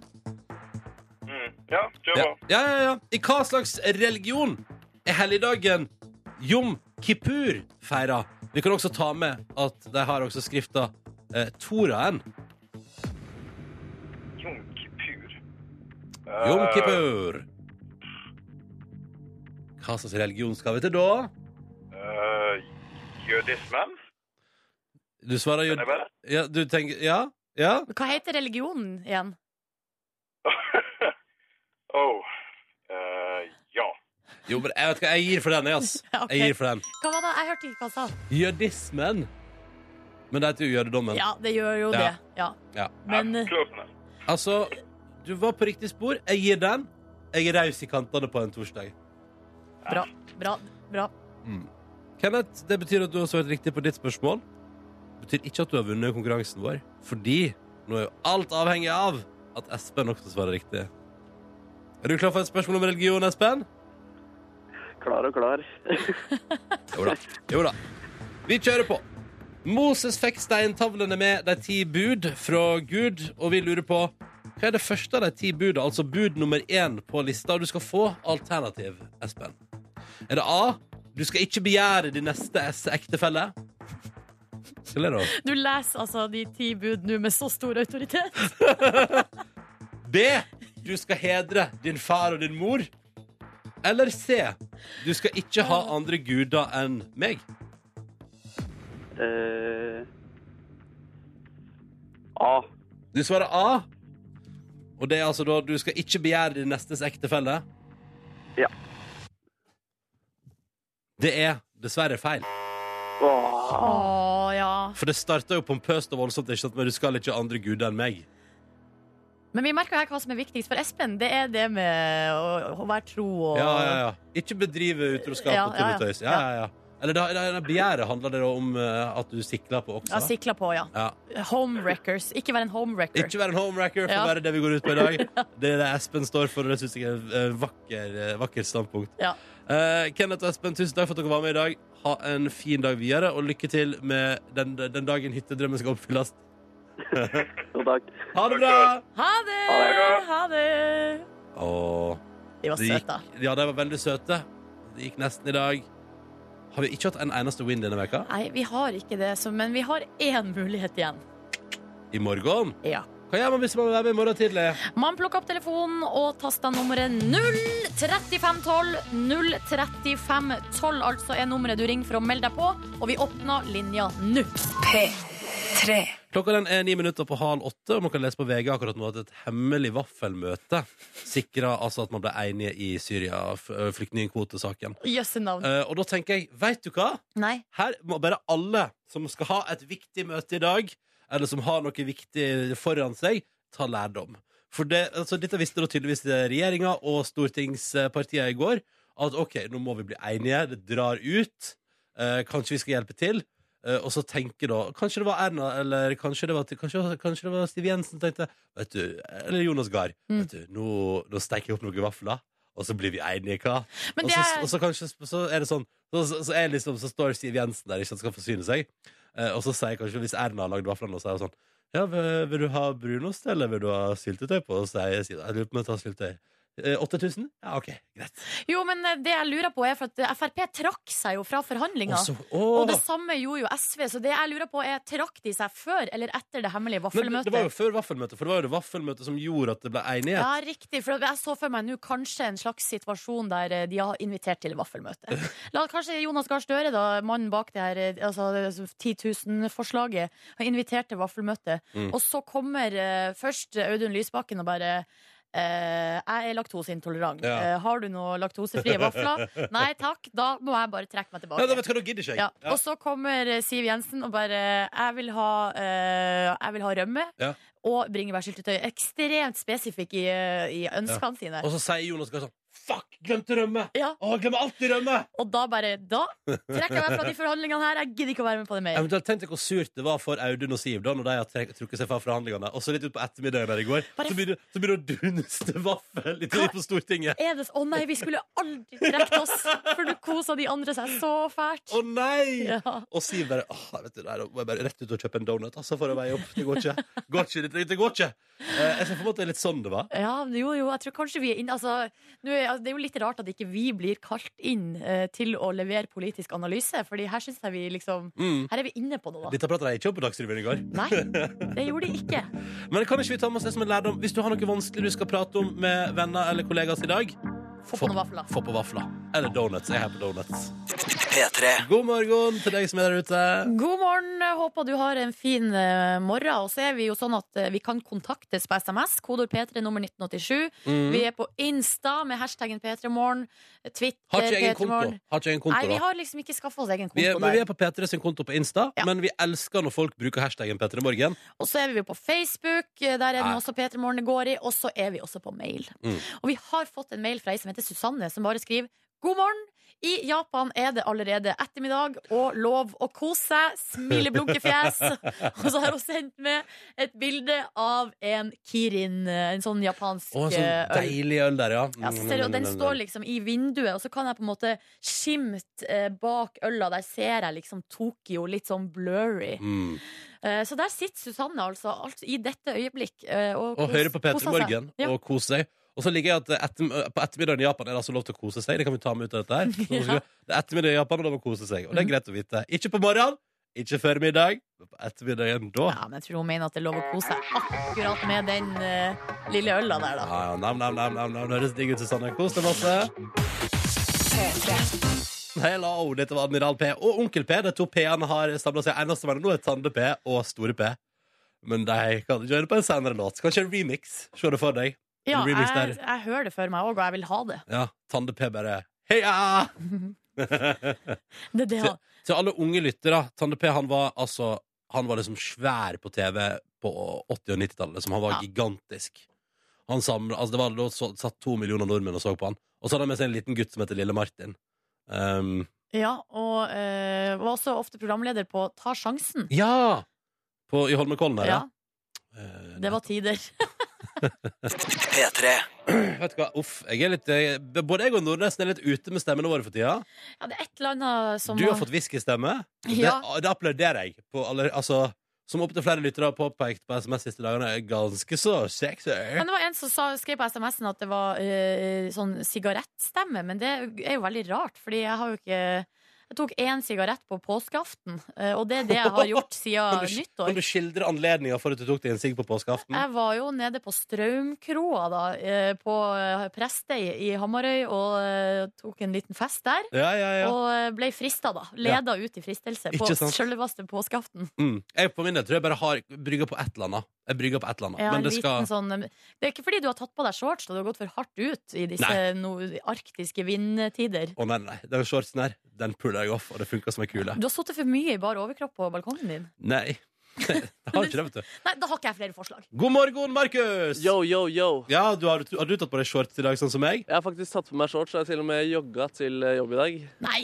Mm. Ja, kjør
Ja.
på.
ja, ja, ja. I hva slags religion er helligdagen Jom Kippur feira? Vi kan også ta med at de har også skrifta eh, Toraen.
Jom kipur.
Jom
Eh.
Kippur. Hva slags religion skal vi til da?
Eh, jødismen?
Du svarer jo
Er det bare?
ja, Du tenker Ja? Ja?
Men Hva heter religionen igjen?
oh. Eh, ja.
Jo, men jeg vet hva, jeg gir for den, jeg, ass.
Ja, ok.
Jeg gir for den.
Hva var det? Jeg hørte ikke hva han sa.
Jødismen. Men det heter jo jødedommen.
Ja, det gjør jo
Ja.
det. Ja.
Ja.
Men
Ja, close enough.
Altså, du var på riktig spor. Jeg gir den. Jeg er raus i kantene på en torsdag.
bra, bra, bra.
Kenneth, det betyr at du har svart riktig på ditt spørsmål. Det betyr ikke at du har vunnet konkurransen vår, fordi nå er jo alt avhengig av at Espen også svarer riktig. Er du klar for et spørsmål om religion, Espen?
Klar og klar.
Jo da. Jo da. Vi kjører på. Moses fikk steintavlene med de ti bud fra Gud, og vi lurer på hva er det første av de ti budene, altså bud nummer én på lista? Du skal få alternativ, Espen. Er det A. Du skal ikke begjære din neste es- ektefelle. Eller da?
Du leser altså de ti bud nå med så stor autoritet.
B. Du skal hedre din far og din mor. Eller C. Du skal ikke ha andre guder enn meg.
Eh, A.
Du svarer A. Og det er altså da du skal ikke begjære din nestes ektefelle.
Ja.
Det er dessverre feil.
Åh,
Å ja.
For det starta jo pompøst og voldsomt, ikke sant? men du skal ikke ha andre guder enn meg.
Men vi merker jo her hva som er viktigst for Espen. Det er det med å, å være tro og
Ja, ja, ja. Ikke bedrive utroskap
Ja,
og tull
ja, ja.
og tøys. Ja, ja, ja. Eller da, da, da begjæret handler det da om eh, at du sikler på
Ja,
oksa.
sikla på, ja.
Ja.
Homewreckers. Ikke vær en homewrecker.
Ikke være en homewrecker, for
Ja.
være det vi går ut på i dag. Det er det Espen står for, og det syns jeg er et eh, vakker, eh, vakkert standpunkt.
Ja.
Eh, Kenneth og Espen, tusen takk for at dere var med i dag. Ha en fin dag videre, og lykke til med den, den dagen hyttedrømmen skal oppfylles.
jo takk.
Ha det bra!
Ha det! Ha det!
Åh,
De var søte,
det gikk,
da.
ja, de var veldig søte. Det gikk nesten i dag. Har vi ikke hatt en eneste win denne veka?
Nei, vi har ikke det, så, men vi har én mulighet igjen.
I morgen?
Ja.
Hva gjør man hvis man vil være med i morgen tidlig?
Man plukker opp telefonen og taster nummeret 03512. 03512 altså er nummeret du ringer for å melde deg på, og vi åpner linja nå.
Klokka den er ni minutter på halv åtte, og man kan lese på VG akkurat nå at et hemmelig vaffelmøte sikra altså at man ble enige i Syria-flyktningkvotesaken.
Jøsse navn.
Eh, og da tenker jeg, veit du hva?
Nei.
Her må bare alle som skal ha et viktig møte i dag, eller som har noe viktig foran seg, ta lærdom. For det, altså, dette visste da tydeligvis regjeringa og stortingspartiet i går, at OK, nå må vi bli enige, det drar ut, eh, kanskje vi skal hjelpe til. Eh, og så tenker da Kanskje det var Erna, eller kanskje det var, kanskje, kanskje det var Siv Jensen tenkte vet du, Eller Jonas Gahr.
Mm.
Vet du, nå, nå steker jeg opp noen vafler, og så blir vi enige, hva?
Men
Og
det
så,
er
og så kanskje så er det sånn Så, så, så, er det liksom, så står Siv Jensen der ikke sant, skal forsyne seg, eh, og så sier kanskje hvis Erna har lagd vaflene, og så er hun sånn Ja, vil, vil du ha brunost, eller vil du ha syltetøy på? Og så sier Siv Jeg lurer på om jeg tar syltetøy. Eh, 8000? Ja, OK, greit.
Jo, men eh, det jeg lurer på, er for at Frp trakk seg jo fra forhandlinga.
Og så-
Og
åh!
det samme gjorde jo SV, så det jeg lurer på er trakk de seg før eller etter det hemmelige
Men det- det var jo
vaffelmøtet?
før vaffelmøtet, for det var jo det vaffelmøtet som gjorde at det ble enighet.
Ja, riktig. For jeg så for meg nå kanskje en slags situasjon der eh, de har invitert til vaffelmøte. La kanskje Jonas Gahr Støre, da, mannen bak det her eh, altså, det som 10 000-forslaget, har invitert til vaffelmøte.
Mm.
Og så kommer eh, først Audun Lysbakken og bare eh, jeg er laktoseintolerant.
Ja.
Eh, har du noe laktosefrie vafler? Nei takk, da må jeg bare trekke meg tilbake.
Nei, da vet du hva, da gidder ikke jeg.
Ja.
Ja.
Og så kommer eh, Siv Jensen og bare Jeg vil ha, eh, jeg vil ha rømme
Ja.
og bringebærsyltetøy. Ekstremt spesifikk i, eh, i ønskene sine.
Og så sier Jonas Gahr sånn Fuck, glemte rømme!
Ja,
Å, glemmer alltid rømme!
og da bare Da trekker jeg meg fra de forhandlingene her. Jeg gidder ikke å være med på det mer.
Eventuelt tenk deg hvor surt det var for Audun og Siv da Når de har trek- trukket seg fra forhandlingene Og så litt ut på ettermiddagen der i går
Bare-
Så begynner så begynner det å dunste vaffel Litt
Hva?
ut på Stortinget
Er det, s- å nei, vi skulle aldri trukket oss, for nå kosa de andre seg så fælt.
Å nei!
Ja.
Og Siv bare Åh, vet du, nei, da må jeg bare rett ut og kjøpe en donut Altså for å veie opp, det går ikke Går ikke, det, det går ikke Eh, Jeg ser for meg at det er litt sånn det var
Ja, men jo, jo, jeg tror kanskje vi er inn, altså, nå er, altså, Det er jo litt rart at ikke vi blir kalt inn eh, til å levere politisk analyse, Fordi her synes jeg vi liksom
mm.
Her er vi inne på noe.
Dette pratet jeg ikke om på Dagsrevyen i går
Nei, det gjorde de ikke.
Men kan ikke vi ta med oss det som en lærdom Hvis du har noe vanskelig du skal prate om med venner eller kollegas i dag
Få på noen vafler.
Få på vafler Eller donuts, jeg er her på donuts God morgen til deg som er der ute
God morgen. Håper du har en fin eh, morgen. Og så er vi jo sånn at eh, vi kan kontaktes på SMS. Kodord P3 nummer 1987.
Mm.
Vi er på Insta med hashtaggen P3morgen. Twitter
Har ikke egen konto.
P3morgen.
Har ikke egen konto
Nei, vi
da.
har liksom ikke skaffa oss egen
Vi er,
konto
men vi
der.
er på P3 sin konto på Insta,
Ja.
men vi elsker når folk bruker hashtaggen P3morgen.
Og så er vi jo på Facebook. eh, Der er den
Nei.
også P3morgen det går i. Og så er vi også på mail.
Mm.
Og vi har fått en mail fra ei som heter Susanne, som bare skriver God morgen. I Japan er det allerede ettermiddag og lov å kose seg. Smileblunkefjes. Og så har hun sendt med et bilde av en Kirin, en sånn japansk
Å, en sånn
eh, øl.
deilig øl der, ja. Mm,
Ja, så ser jeg, og den står liksom i vinduet, og så kan jeg på en måte skimte eh, bak øla. Der ser jeg liksom Tokyo litt sånn blurry.
Mm.
Eh, så der sitter Susanne altså, alt i dette øyeblikk eh, og,
Og
kos-
hører på P3
koser seg.
Morgen
Ja.
og koser seg. Og så ligger jeg at etter, På ettermiddagen i Japan er det altså lov til å kose seg. Det kan vi ta med ut av dette her. Nå skal vi- Det er ettermiddag i Japan, og lov å kose seg. Og
Mhm.
det er greit å vite. Ikke på morgenen, ikke før middag, men på ettermiddagen da.
Ja, men jeg tror hun mener at det er lov å kose seg akkurat med den eh, lille øla der, da.
Ja, ja, nam, nam, nam, nam, nam. Det høres digg ut, Susanne. Kos deg masse. Hello, dette var Admiral P og Onkel P. De to P-ene har samla seg. Eneste mellom nå er Tande-P og Store P. Men de kan ikke høre på en senere låt. Kanskje en remix. Se det for deg.
Ja,
En remix
jeg,
der.
jeg hører det for meg òg, og jeg vil ha det.
Ja, Tande-P bare Heia!
Det er det han
Til alle unge lyttere, Tande P han var altså Han var liksom svær på TV på 80- og 90-tallet. Liksom. Han var
Ja.
gigantisk. Han samlet, altså det var da så, satt to millioner nordmenn og så på han. Og så hadde han med seg en liten gutt som heter Lille Martin. Um,
Ja, og eh, var også ofte programleder på Ta sjansen.
ja! På, I Holmenkollen der, ja. Eh,
Ja, det var tider.
P3.
Vet du hva, uff. Jeg er litt, jeg, både jeg og Nordnesen er litt ute med stemmene våre for tida.
Ja, det er et eller annet som eh,
Du har fått whiskystemme.
Ja.
Det, det applauderer jeg. På alle, altså, som opptil flere lyttere har påpekt på SMS siste dagene, er ganske så sexy.
Men det var en som sa, skrev på SMS-en at det var eh, sånn sigarettstemme, men det er jo veldig rart, fordi jeg har jo ikke Jeg tok én sigarett på påskeaften, eh, og det er det jeg har gjort
Kan
siden
du, kan
nyttår.
du skildre anledninga for at du tok deg en sigg på påskeaften?
Jeg var jo nede på Straumkroa, da, eh, på eh, Prestøy i Hamarøy, og eh, tok en liten fest der.
Ja, ja, ja.
Og eh, ble frista, da. Leda ut i fristelse på
Ikke sant?
selveste påskeaften.
Mm. Jeg på min del tror jeg bare har brygga på et eller annet. Jeg brygger på et eller annet.
Ja,
Men det
en
skal
liten sånn, det er ikke fordi du har tatt på deg shorts da du har gått for hardt ut i disse
Nei.
no, arktiske vindtider.
Å nei, nei, nei. Den shortsen her, den puller jeg off, og det funker som ei kule.
Du har sittet for mye i bar overkropp på balkongen din.
Nei. det har ikke det, vet du.
Nei, Da har ikke jeg flere forslag.
God morgen, Markus!
Yo, yo, yo.
Ja, du har, har du tatt på deg shorts i dag, sånn som meg?
Jeg har faktisk tatt på meg shorts, og jeg har til og med jogga til eh, jobb i dag.
Nei,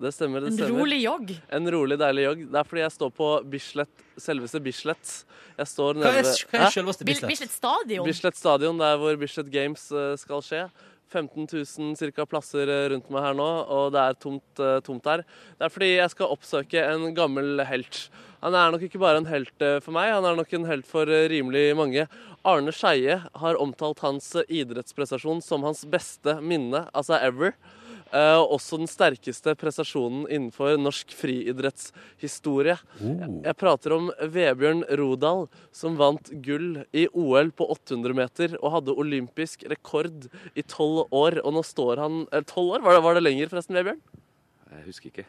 Det stemmer, det
En
stemmer.
rolig jogg.
En rolig, deilig jogg. Det er fordi jeg står på Bislett, selveste Bislett. Jeg står
Hva
nede
er,
ved-
hva er
Hæ?
selveste
Bil-
Bislett?
Bislett Stadion.
Bislett Stadion, der hvor Bislett Games eh, skal skje. 15 000 cirka plasser eh, rundt meg her nå, og det er tomt, eh, tomt der. Det er fordi jeg skal oppsøke en gammel helt. Han er nok ikke bare en helt eh, for meg, han er nok en helt for eh, rimelig mange. Arne Skeie har omtalt hans eh, idrettsprestasjon som hans beste minne, altså ever. eh, Og også den sterkeste prestasjonen innenfor norsk friidrettshistorie.
Oh.
Jeg prater om Vebjørn Rodal, som vant gull i OL på 800 meter og hadde olympisk rekord i tolv år. Og nå står han eh, 12 år? Var det, var det lenger, forresten, Vebjørn?
Jeg husker ikke.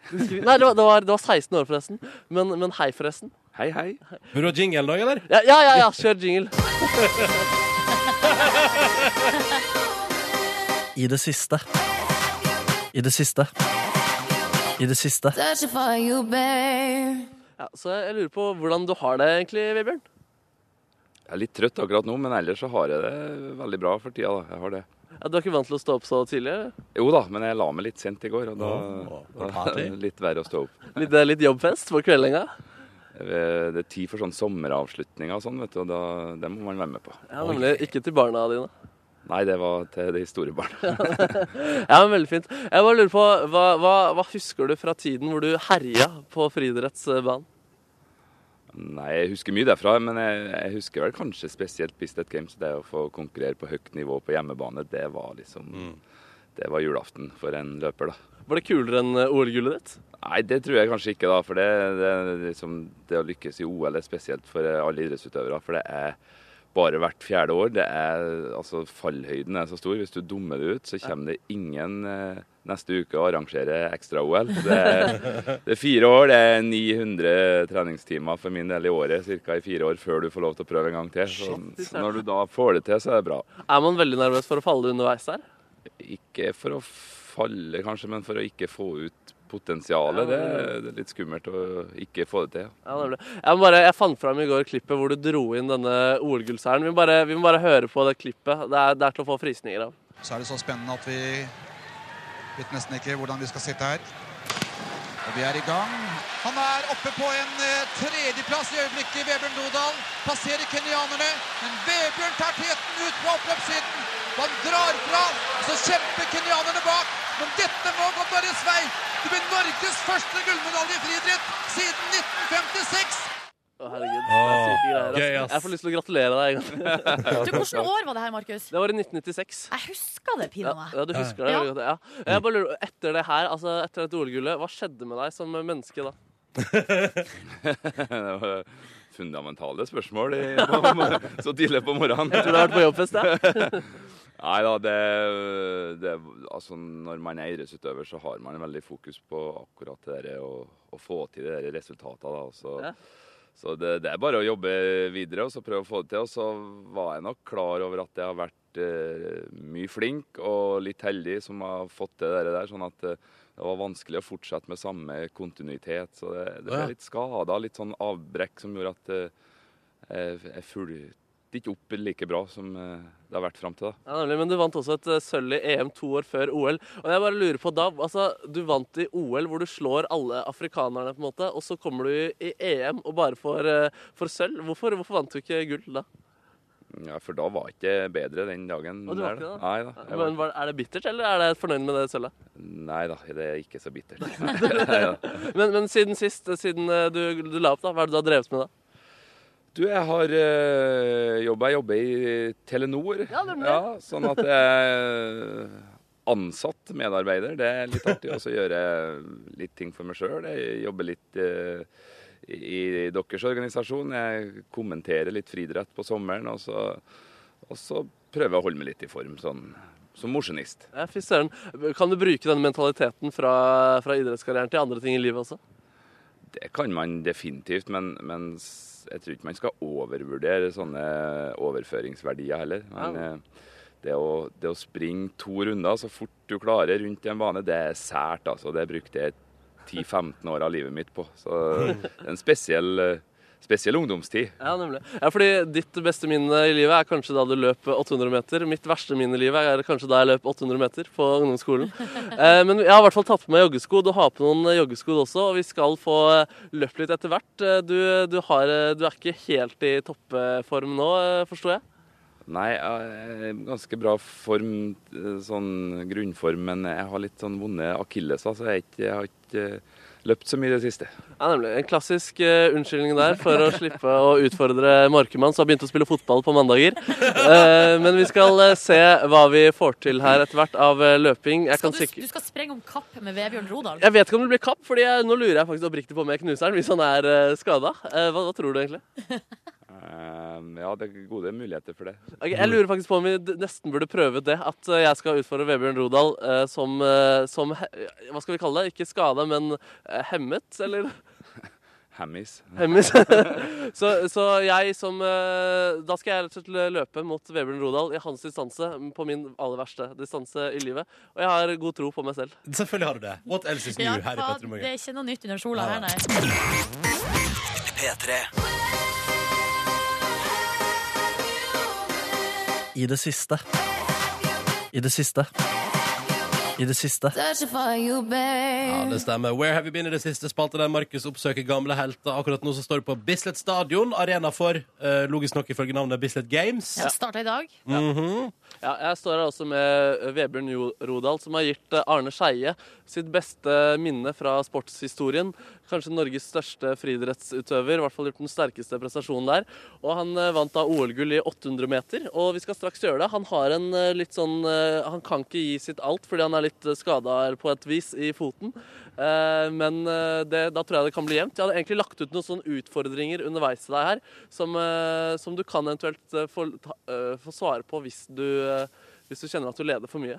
Nei, det var, det var, det var 16 år, forresten. Men, men hei, forresten.
Hei, hei.
Vil du ha jingle i dag, eller?
Ja, ja, ja, ja kjør jingle.
I det siste. I det siste. I det siste.
Ja, så jeg lurer på hvordan du har det egentlig, Vebjørn?
Jeg er litt trøtt akkurat nå, men ellers så har jeg det veldig bra for tida. da. Jeg har det.
Ja, du er ikke vant til å stå opp så tidlig?
Jo da, men jeg la meg litt sent i går, og da,
Åh, det var
da er det
party.
litt verre å stå opp.
Litt, det er litt jobbfest på kveldinga?
Det er tid for sånn sommeravslutninger og sånn, vet du, og da, det må man være med på.
Ja, nemlig ikke til barna dine.
Nei, det var til de store barna.
Ja, men Veldig fint. Jeg bare lurer på, hva, hva, hva husker du fra tiden hvor du herja på friidrettsbanen?
Nei, jeg husker mye derfra, men jeg, jeg husker vel kanskje spesielt Bislett Games. Det å få konkurrere på høyt nivå på hjemmebane, det var liksom
Mm.
Det var julaften for en løper, da.
Var det kulere enn eh, OL-gullet ditt?
Nei, det tror jeg kanskje ikke, da. For det, det, er liksom, det å lykkes i OL er spesielt for alle idrettsutøvere. For det er bare hvert fjerde år. Det er, altså, fallhøyden er så stor. Hvis du dummer det ut, så kommer det ingen eh, neste uke og arrangerer ekstra-OL. Det, er- det er fire år. Det er 900 treningstimer for min del i året, ca. i fire år før du får lov til å prøve en gang til. Så, så når du da får det til, så er det bra.
Er man veldig nervøs for å falle underveis der?
Ikke for å falle, kanskje, men for å ikke få ut potensialet. Det, det er litt skummelt å ikke få det til.
Ja, nemlig. Jeg, må bare, jeg fant fram i går klippet hvor du dro inn denne OL-gullseieren. Vi, må bare- vi må bare høre på det klippet. Det er, det er til å få frysninger av.
så er det så spennende at vi Vet nesten ikke hvordan vi skal sitte her. Og vi er i gang. Han er oppe på en eh, tredjeplass i øyeblikket. Vebjørn Dodal passerer kenyanerne. Men Vebjørn tar teten ut på oppløpssiden. Og Han drar fra, så kjemper kenyanerne bak. Men dette må gå Norges vei. Det blir Norges første gullmedalje i friidrett siden 1956.
Å, herregud. Det er syke greier.
Gøy,
ass.
ass.
Jeg får lyst til å gratulere deg en gang.
Du, hvilket år var det her, Markus?
Det var i 1996.
Jeg husker det,
Ja,
pinadø.
ja, du husker det.
Ja.
veldig godt, Ja. Jeg bare lurer, etter det her, altså etter dette OL-gullet, hva skjedde med deg som menneske da?
Det var fundamentale spørsmål i, på, så tidlig på morgenen.
Tror du har vært på jobbfest, ja?
Nei da, det, det Altså, når man er idrettsutøver, så har man veldig fokus på akkurat det der å, å få til det der resultatet, da. og Så,
Ja.
så det, det er bare å jobbe videre og så prøve å få det til. Og så var jeg nok klar over at jeg har vært eh, mye flink og litt heldig som har fått til det der, sånn at eh, det var vanskelig å fortsette med samme kontinuitet. Så det,
Å,
det
ja.
ble litt skada, litt sånn avbrekk som gjorde at eh, jeg, jeg fulgte ikke opp like bra som eh, det har vært fram til da.
ja nemlig, men du vant også et eh, sølv i EM to år før OL. Og jeg bare lurer på da, altså du vant i OL hvor du slår alle afrikanerne på en måte, og så kommer du i EM og bare får, eh, får sølv. Hvorfor, hvorfor vant du ikke gull da?
Ja, for da var ikke jeg bedre den dagen.
Og du var
der,
ikke det?
Nei da. Jeg
Men,
var...
var- er det bittert, eller er det fornøyd med det sølvet?
Nei da, det er ikke så bittert. Nei da.
Men, men siden sist, eh, siden eh, du, du la opp da, hva er det du har drevet med da?
Du, jeg har øh, jobba Jeg jobber i Telenor.
Ja, nemlig.
sånn at jeg er ansatt medarbeider. Det er litt artig. Og så gjøre litt ting for meg sjøl. Jeg jobber litt øh, i, i deres organisasjon. Jeg kommenterer litt friidrett på sommeren. Og så, og så prøver jeg å holde meg litt i form sånn, som mosjonist.
Ja, fy søren. Kan du bruke den mentaliteten fra, fra idrettskarrieren til andre ting i livet også?
Det kan man definitivt, men, men s- jeg tror ikke man skal overvurdere sånne overføringsverdier heller. Men
Ja.
eh, det, å, det å springe to runder så fort du klarer rundt en bane, det er sært, altså. Det brukte jeg 10-15 år av livet mitt på. Så det er en spesiell, eh, spesiell ungdomstid.
Ja, nemlig. Ja, fordi ditt beste minne i livet er kanskje da du løp 800 meter. Mitt verste minne i livet er kanskje da jeg løp 800 meter på ungdomsskolen. Eh, men jeg har i hvert fall tatt på meg joggesko. Du har på noen eh, joggesko også, og vi skal få eh, løpt litt etter hvert. Eh, Du, du, har, eh, du er ikke helt i toppform nå, eh, forstår jeg?
Nei, jeg er i ganske bra form, eh, sånn grunnform, men jeg har litt sånn vonde akilleser, så jeg, er ikke, jeg har ikke eh, løpt så mye i det siste.
Ja, nemlig. En klassisk eh, unnskyldning der for å slippe å utfordre Markemann, som har begynt å spille fotball på mandager. Eh, men vi skal eh, se hva vi får til her etter hvert av eh, løping. Jeg,
Skal
kan
du,
sikk-
du skal sprenge om kapp med Vebjørn Rodal?
jeg vet ikke om det blir kapp, Fordi jeg, nå lurer jeg faktisk oppriktig på om jeg knuser han hvis han er uh, skada. hva, hva tror du egentlig?
Ehm, Ja, det er gode muligheter for det.
Ok, jeg lurer faktisk på om vi d- nesten burde prøve det. At eh, jeg skal utfordre Vebjørn Rodal eh, som, eh, som he- Hva skal vi kalle det? Ikke skada, men eh, hemmet, eller?
Hammies.
Hemmis. så, så jeg som eh, Da skal jeg rett og slett løpe mot Vebjørn Rodal i hans distanse, på min aller verste distanse i livet. Og jeg har god tro på meg selv.
Selvfølgelig har du det. What else is new
Ja,
her i
faen,
Petter
det
Morgen?
er ikke noe nytt under sola her,
Nei,
nei.
I det siste. I det siste. I det siste.
Ja, det stemmer. Where have you been i det siste spalte der Markus oppsøker gamle helter? Akkurat nå så står det på Bislett Stadion, arena for, eh, logisk nok ifølge navnet, Bislett Games.
Ja, Starta i dag.
Ja, jeg står her også med Vebjørn Jo- Rodal, som har gitt eh, Arne Skeie sitt beste minne fra sportshistorien. Kanskje Norges største friidrettsutøver, i hvert fall gjort den sterkeste prestasjonen der. Og han eh, vant da OL-gull i 800 meter, og vi skal straks gjøre det. Han har en eh, litt sånn eh, Han kan ikke gi sitt alt fordi han er litt skada på et vis i foten. Eh, Men eh, det, da tror jeg det kan bli jevnt. Jeg hadde egentlig lagt ut noen sånne utfordringer underveis til deg her, som, eh, som du kan eventuelt eh, få, ta, eh, få svare på hvis du, eh, hvis du kjenner at du leder for mye.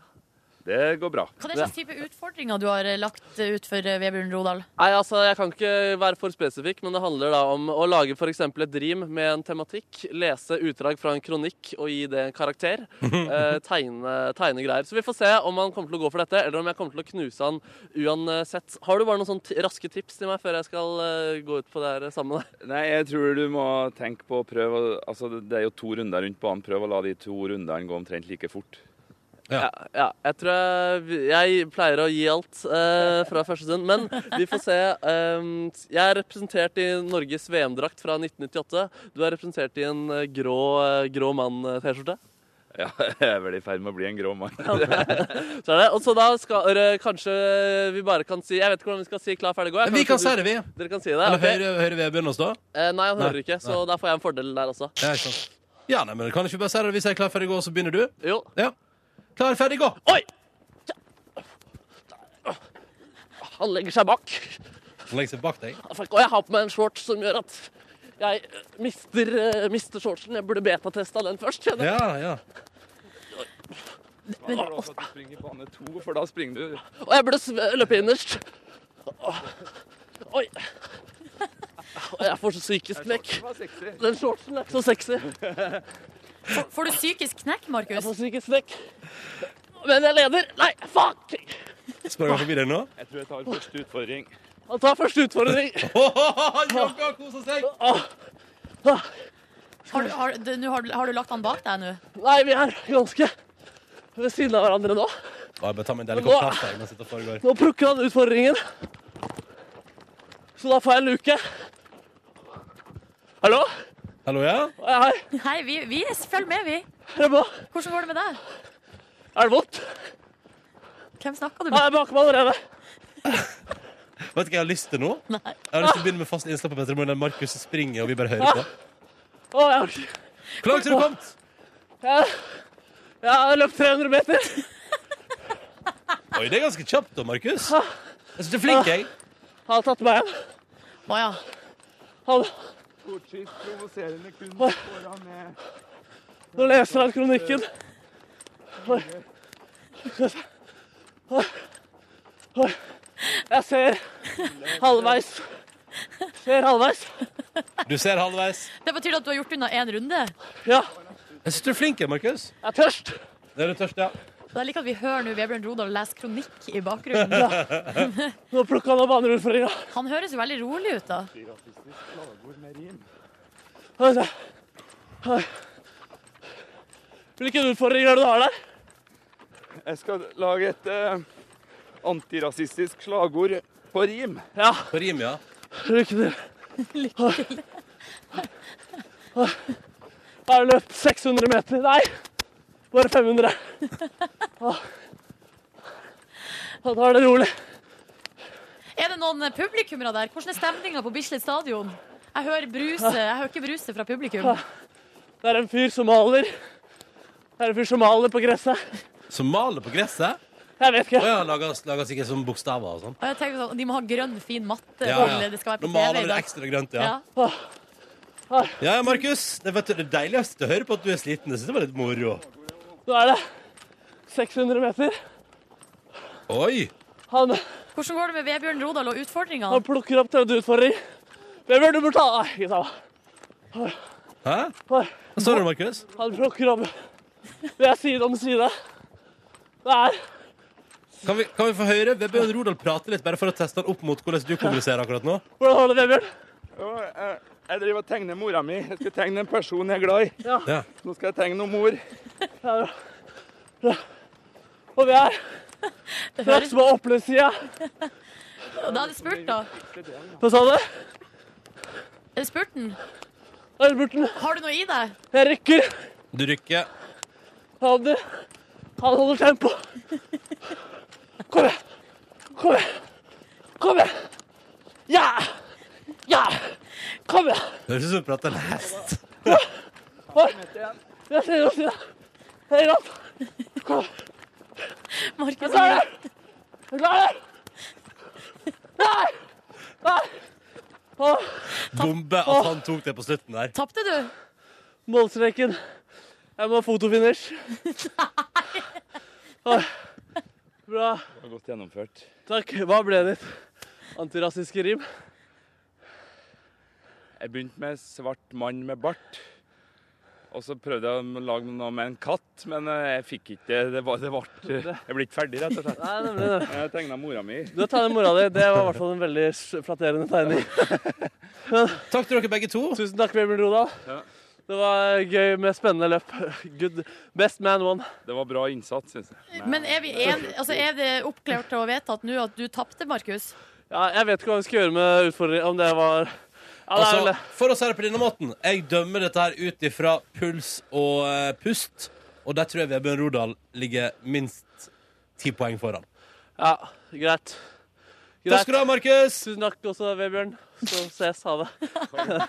Det går bra.
Hva er det slags type utfordringer du har eh, lagt ut for eh, Vebjørn Rodal?
Nei, altså, Jeg kan ikke være for spesifikk, men det handler da om å lage for eksempel et rim med en tematikk, lese utdrag fra en kronikk og gi det en karakter. Eh, tegne, tegne greier. Så vi får se om han kommer til å gå for dette, eller om jeg kommer til å knuse han uansett. Har du bare noen sånne ti- raske tips til meg før jeg skal eh, gå ut på det her sammen? med deg?
Nei, jeg tror du må tenke på å prøve å- Altså, det er jo to runder rundt banen. Prøv å la de to rundene gå omtrent like fort.
Ja. Ja, jeg tror jeg, jeg pleier å gi alt eh, fra første stund. Men vi får se. Ehm, jeg er representert i Norges VM-drakt fra 1998. Du er representert i en eh, grå, eh, grå mann-T-skjorte.
Ja, jeg er vel i ferd med å bli en grå mann.
Så er det. Og så da skal dere kanskje vi bare kan si Jeg vet ikke hvordan vi skal si klar, ferdig, gå. Jeg
Vi
kanskje
kan si
du-
det, vi.
Dere kan si det.
Eller
ok?
hører, hører vi begynner å stå?
Eh, nei, han
Nei,
hører ikke, så da får jeg en fordel der også.
Ja, ikke sant. Ja, nei, men kan ikke vi bare si det hvis jeg er klar, ferdig, gå, så begynner du?
Jo.
Ja. Klar, ferdig, gå!
Oi! Han legger seg bak.
Legg seg bak deg.
Fuck, Og jeg har på meg en shorts som gjør at jeg eh, mister, eh, mister shortsen. Jeg burde betatesta den først. kjenner jeg.
Ja, ja.
Men, også at du springer i bane to, for da springer du
Og jeg burde sve- løpe innerst. Åh. Oi. Og jeg får så psykisk knekk.
Det var sexy.
Den shortsen er ikke så sexy.
Får- Får du psykisk knekk,
Jeg
Markus?
får psykisk knekk. Men jeg leder. Nei, fuck!
Sprang han forbi deg nå?
Jeg tror jeg tar første utfordring.
Han tar første utfordring.
Jogga, kosa seg!
Åh. Åh.
Har du, har, du, nå har, du- har du lagt han bak deg nå?
Nei, vi er ganske ved siden av hverandre nå.
Å, jeg bør ta meg en deilig kopp kaffe jeg, mens dette foregår.
Nå plukker han utfordringen. Så da får jeg en luke. Hallo?
Hallo, ja?
Hei, hei.
Nei, vi, vi følger med, vi.
Rebbe.
Hvordan går det med deg?
Er det vondt?
Hvem snakker du
Nei,
med?
jeg baker meg allerede.
Vet du hva jeg har lyst til nå?
Nei.
Jeg har lyst til å begynne med fast innslag på Petter Morgen der Markus springer og vi bare hører på.
Å, jeg har ikke-
Hvor langt har du kommet?
jeg, jeg har løpt 300 meter.
Oi, det er ganske kjapt da, Markus. Jeg synes du er flink, jeg.
Han har tatt meg igjen.
Å ja.
Han,
Kortskift, provoserende kunst foran eh, med
nå leser han kronikken. Oi. Oi. Oi. Jeg ser halvveis. Ser halvveis.
Du ser halvveis.
Det betyr at du har gjort unna én runde?
Ja,
Jeg synes du er flink, jeg, Markus.
jeg er tørst.
Det er du tørst, ja.
Jeg liker at vi hører nå Vebjørn Rodal lese kronikk i bakgrunnen.
Nå plukker han opp andre utfordringer.
Han høres jo veldig rolig ut, da.
Oi, se. Oi. Hvilken utfordring er det du har der?
Jeg skal lage et eh, antirasistisk slagord på rim.
Ja,
På rim, ja.
lykke til. Lykke til. Jeg har løpt 600 meter. Nei, bare 500. Åh. Ja, Da er det rolig.
Er det noen publikummere der? Hvordan er stemninga på Bislett stadion? Jeg hører bruse, jeg hører ikke bruse fra publikum.
Det er en fyr som maler. Det er en fyr som maler på gresset.
Som maler på gresset.
Jeg vet
Og
ikke.
jeg har laget, laget sikkert som bokstaver og sånn.
Og jeg tenker sånn, De må ha grønn, fin matte.
Ja,
til
ja.
Det skal være
Nå
på TV
maler
i
du
dag.
ekstra grønt, ja.
Ja.
Ja, ja, Markus. Det, vet du, det deiligste å høre på at du er sliten. Jeg synes det var litt moro.
Nå er det 600 meter.
Oi!
Han,
Hvordan går det med Vebjørn Rodal og
han
utfordringene?
plukker opp tredje utfordring. Hvem er det du burde ta? Nei, ikke ta.
Hæ?
Oi.
Hva står det, Markus?
Han plukker opp. Vi er side om side. Det er
Kan vi, kan vi få høre Vebjørn Rodal prate litt, bare for å teste han opp mot hvordan du kommuniserer akkurat nå?
Hvordan har du det, Bjørn?
Jo, jeg, eh, jeg driver og tegner mora mi. Jeg skal tegne en person jeg er glad i.
Ja.
Nå skal jeg tegne noe mor.
Ja, bra. Bra. Og vi er straks på oppløpssida.
Og Da er det spurt, da.
Hva sa du?
Er det spurten?
Der, Burten.
Har du noe i deg?
Jeg rykker.
Du rykker.
Han, han holder tempo. Kom igjen. Kom igjen. Kom igjen. Ja! Ja! Kom igjen.
Det høres ut som du prater en hest.
Oi. Vi er side om side. Hei, Rapp. Kom igjen.
Markus,
Klarer det! Jeg klarer det! Nei! Nei! Åh,
Bombe at han tok det på slutten der.
tapte du?
målstreken. Jeg må ha fotofinish. Åh, Bra.
Det var godt gjennomført.
Takk. Hva ble ditt antirasistiske rim?
Jeg begynte med svart mann med bart. Og så prøvde jeg å lage noe med en katt, men eh, jeg fikk ikke det. Det, var, det ble, jeg ble ikke ferdig, rett og slett.
Nei, nemlig det.
Jeg tegna mora mi.
Du har tegnet mora di. Det var i hvert fall en veldig s- flatterende tegning.
Takk til dere begge to.
Tusen takk, Vebjørn Rodal.
Ja.
Det Det var gøy med spennende løp. Good. Best man won.
Det var bra innsats, syns jeg.
Men er, vi en, altså er det oppklart og vedtatt nå at du tapte, Markus?
Ja, jeg vet ikke hva vi skal gjøre med utfordringen, om det var ja, det er vel-
Altså, for å si det på denne måten, jeg dømmer dette her ut ifra puls og eh, pust, og der tror jeg Vebjørn Rodal ligger minst ti poeng foran.
Ja, greit. greit.
Takk skal du ha, Markus!
Tusen takk også, Vebjørn. Så ses. Ha det.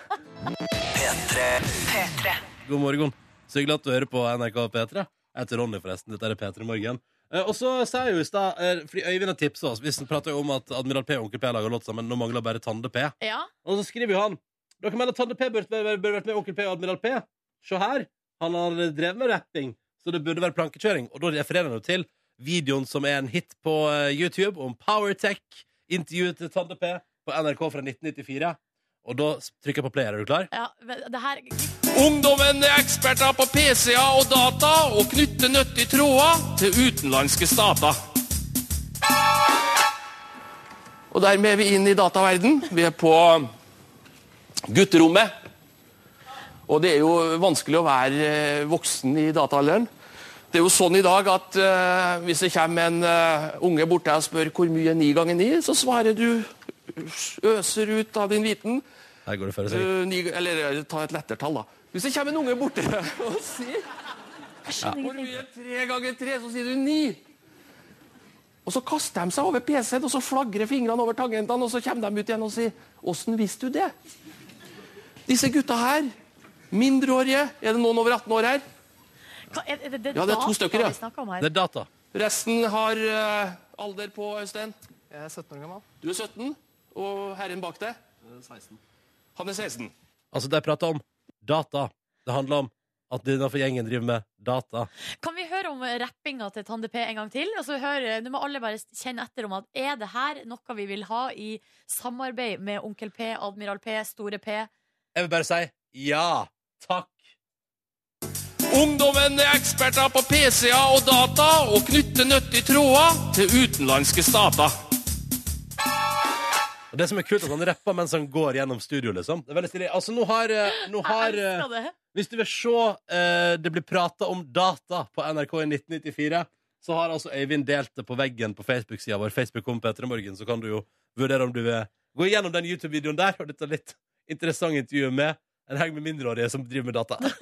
God morgen. Så hyggelig at du hører på NRK P3. Jeg heter Ronny, forresten. Dette er P3 Morgen. Eh, og så sa jeg jo i stad, eh, fordi Øyvind har tipsa oss, vi prater jo om at Admiral P og Onkel P lager låt sammen, nå mangler bare Tande P.
Ja.
Og så skriver jo han Dere mener at Tande P burde, burde burde vært med Onkel P og Admiral P. Se her. Han har drevet med rapping, så det burde være plankekjøring. Og da refererer han jo til videoen som er en hit på eh, YouTube om Powertech. Intervjuet til Tande P på NRK fra 1994. Og da trykker jeg på play. Er du klar?
ja men det her
Ungdommen er eksperter på PC-er og data og knytter nyttige tråder til utenlandske stater. Og dermed er vi inn i dataverden. Vi er på gutterommet. Og det er jo vanskelig å være eh, voksen i dataalderen. Det er jo sånn i dag at eh, hvis det kommer en eh, unge bort til deg og spør hvor mye er ni ganger ni, så svarer du øser ut av din viten.
Her går det før seg.
Eh, ni, eller eh, ta et lettertall, da. Hvis det kommer en unge borti deg og sier Hvor mye er tre ganger tre? Så sier du ni. Og så kaster de seg over PC-en, og så flagrer fingrene over tangentene, og så kommer de ut igjen og sier Åssen visste du det? Disse gutta her, mindreårige Er det noen over 18 år her?
Hva- er, er det, det
Ja, det er to
data
stykker, ja.
vi snakker om her?
Det er data.
Resten har eh, alder på, Øystein?
Jeg er 17 år gammel.
Du er 17, og herren bak deg? 16. Han er 16.
Altså, de prater om data. Det handler om at denne gjengen driver med data.
Kan vi høre om eh, rappinga til Tande P en gang til? Og så høre, Nå må alle bare kjenne etter om at er det her noe vi vil ha i samarbeid med Onkel P, Admiral P, Store P?
Jeg vil bare si ja. Takk.
Ungdommen er eksperter på PC-er og data og knytter nyttige tråder til utenlandske stater.
Og Det som er kult, er at han rapper mens han går gjennom studio, liksom. Det er veldig stilig. Altså, nå har, eh, nå har
Jeg
eh,
elsker det.
Hvis du vil se eh, det blir prata om data på NRK i 1994, så har altså Øyvind delt det på veggen på Facebook-sida vår. Facebook kom Petra Morgen, så kan du jo vurdere om du vil gå gjennom den YouTube-videoen der. Og dette litt interessant intervju med en haug med mindreårige som driver med data.
Jeg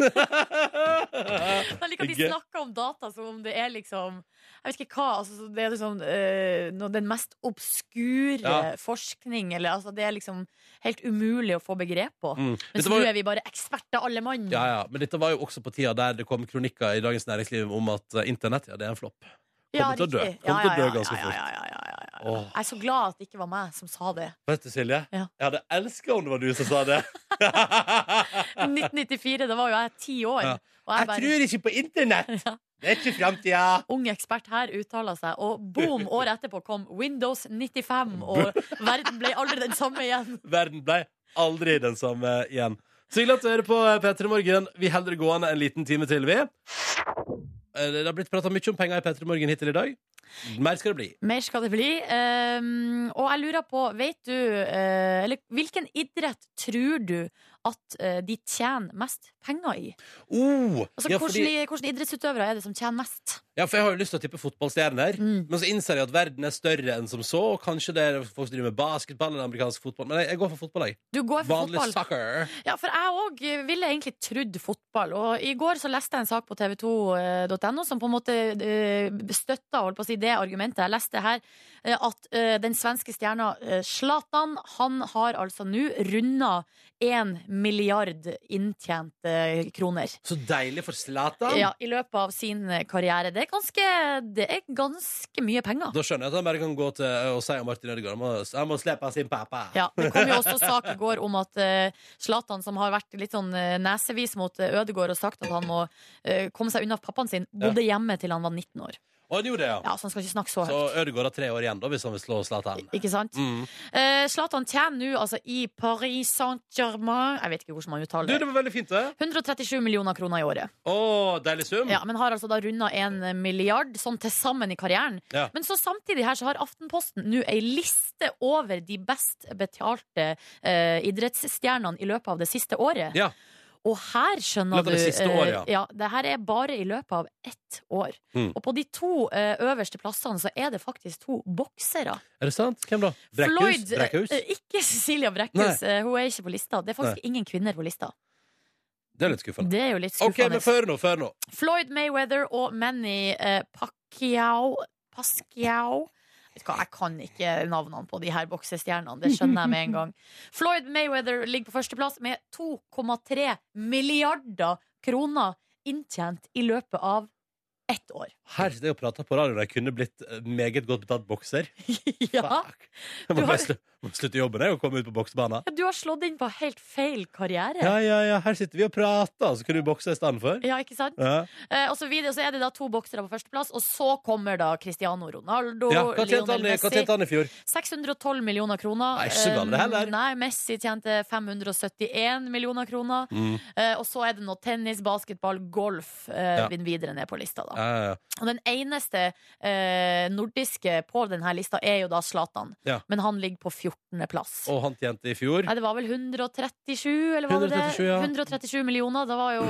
liker at de
Gøy.
snakker om data som om det er liksom Jeg vet ikke hva. Altså, så det er liksom eh, noe- den mest obskure
Ja.
forskning, eller altså Det er liksom helt umulig å få begrep på.
Mm.
Mens
Dette var jo-
nå er vi bare eksperter, alle mann.
Ja, ja, Men dette var jo også på tida der det kom kronikker i Dagens Næringsliv om at eh, internett ja, det er en flopp. Kommer til å dø.
riktig.
Kommer
Ja,
til å dø
ja, ja,
ganske
ja,
fort.
ja, ja, ja, ja.
Åh.
Jeg er så glad at det ikke var meg som sa det.
Vet du, Silje?
Ja.
Jeg hadde elska om det var du som sa det.
1994, da var jo jeg ti år.
Ja.
Og jeg bare
tror ikke på internett! Det er ikke framtida!
ung ekspert her uttaler seg, og boom, året etterpå kom Windows 95, og verden ble aldri den samme igjen.
Verden blei aldri den samme igjen. Så hyggelig at du hører på eh, P3 Morgen. Vi holder det gående en liten time til, vi. Eh, Det har blitt prata mye om penger i P3 Morgen hittil i dag. Mer skal det bli.
Mer skal det bli. Ehm, og jeg lurer på, vet du eh, Eller hvilken idrett tror du at eh, de tjener mest penger i?
Oh,
Altså,
ja,
hvordan,
fordi,
hvordan idrettsutøvere er det som tjener mest? Mm.
ja, for jeg har jo lyst til å tippe fotballstjerner. Men så innser jeg at verden er større enn som så. Og kanskje det er folk som driver med basketball eller amerikansk fotball. Men jeg, jeg går for fotball, jeg.
Du går for
Vanlig
fotball.
soccer.
Ja, for jeg òg ville egentlig trodd fotball. Og i går så leste jeg en sak på eh, tv2.no som på en måte eh, støtta holdt på å si, det argumentet. Jeg leste her eh, at eh, den svenske stjerna eh, Zlatan, han har altså nå runda én milliard inntjente kroner.
Så deilig for Zlatan.
Ja, I løpet av sin karriere. Det er ganske, det er ganske mye penger.
Da skjønner jeg at han bare kan gå til eh, og si om Martin Ødegaard Han må- Han må slippe sin pappa.
Ja, Det kom jo også sak i går om at eh, Zlatan, som har vært litt sånn eh, nesevis mot eh, Ødegaard og sagt at han må eh, komme seg unna pappaen sin, bodde hjemme til han var 19 år.
Og han gjorde det, ja.
Ja, Så han skal ikke snakke så
Så
høyt.
Ødegaard har tre år igjen da hvis han vil slå Zlatan.
Ikke sant?
Mm.
Eh, Zlatan tjener nå altså i Paris Saint-Germain Jeg vet ikke hvordan man
Du,
uttaler
det
det.
var veldig fint, det.
137 millioner kroner i året.
Å, deilig sum.
Ja, Men har altså da runda en milliard, sånn til sammen i karrieren.
Ja.
Men så samtidig her så har Aftenposten nå ei liste over de best betalte eh, idrettsstjernene i løpet av det siste året.
Ja.
Og her skjønner
Løpet av
du
det siste
eh,
året, ja.
ja, Det her er bare i løpet av ett år.
Mm.
Og på de to eh, øverste plassene så er det faktisk to boksere.
Er det sant? Hvem da? Brekkhus?
Floyd, eh,
Brekkhus?
eh, Ikke Cecilia Brekkhus. eh, Hun er ikke på lista. Det er faktisk
Nei.
ingen kvinner på lista.
Det er litt skuffende.
Det er jo litt
OK,
skuffende.
men før nå, før nå.
Floyd Mayweather og Manny eh, Pacquiao Pasquiao Vet du hva, Jeg kan ikke navnene på de her boksestjernene. Det skjønner jeg med en gang. Floyd Mayweather ligger på førsteplass med 2,3 milliarder kroner inntjent i løpet av ett år.
Her sitter jeg og prater på radioen. Jeg kunne blitt eh, meget godt betalt bokser.
Ja.
Jeg må
Du har-
bare slu- må slutte jobben jeg, og komme ut på boksebanen.
Du har slått inn på helt feil karriere.
Ja, ja, ja. Her sitter vi og prater, så kunne du bokse i stedet for.
Ja, ikke sant?
Ja.
Eh, og så, videre, så er det da to boksere på førsteplass, og så kommer da Cristiano Ronaldo.
Ja, hva tjente han,
Lionel
i- hva tjente han i fjor?
612 millioner kroner.
Nei, ikke så galt det
Eh,
heller.
Nei, Messi tjente 571 millioner kroner.
Mm.
Eh, og så er det noe tennis, basketball, golf eh,
Ja.
videre ned på lista. da.
Ja, ja,
Og den eneste eh, nordiske på denne lista er jo da Zlatan.
ja.
Men han ligger på 14. plass.
Og han tjente i fjor.
Nei, det var vel 137, eller var det
137,
det?
ja.
137 millioner. Det var jo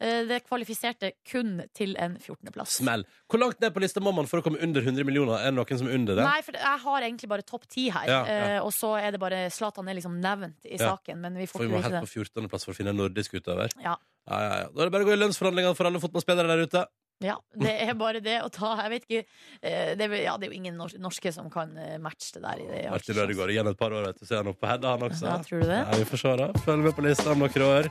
eh, Det kvalifiserte kun til en 14.-plass.
Smell. Hvor langt ned på lista må man for å komme under 100 millioner? Er det noen som er under det?
Nei, for jeg har egentlig bare topp ti her.
Ja, ja.
eh, Og så er det bare Zlatan er liksom nevnt i
Ja.
saken, men vi
for
får
vi
ikke
må helt
vite
på
det.
14. plass for å finne en nordisk utøver.
Ja.
Ja, ja, ja. Da er det bare å gå i lønnsforhandlinger for alle fotballspillere der ute.
ja, det er bare det å ta Jeg vet ikke eh, det, er vel- ja, det er jo ingen nor- norske som kan eh, matche det der. I det, altså.
Martin Ødegaard igjen et par år, vet du. Så er han oppe på Hedda, han også.
Ja, tror du det?
Ja, vi får se, da. Følg med på lista om noen år.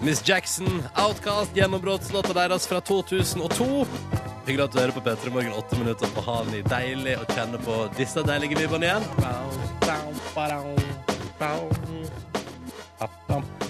Miss Jackson, Outcast, gjennombruddslåta deres fra 2002. Hyggelig at du hører på P3 Morgen åtte minutter på haven i deilig å kjenne på disse deilige vibbene igjen.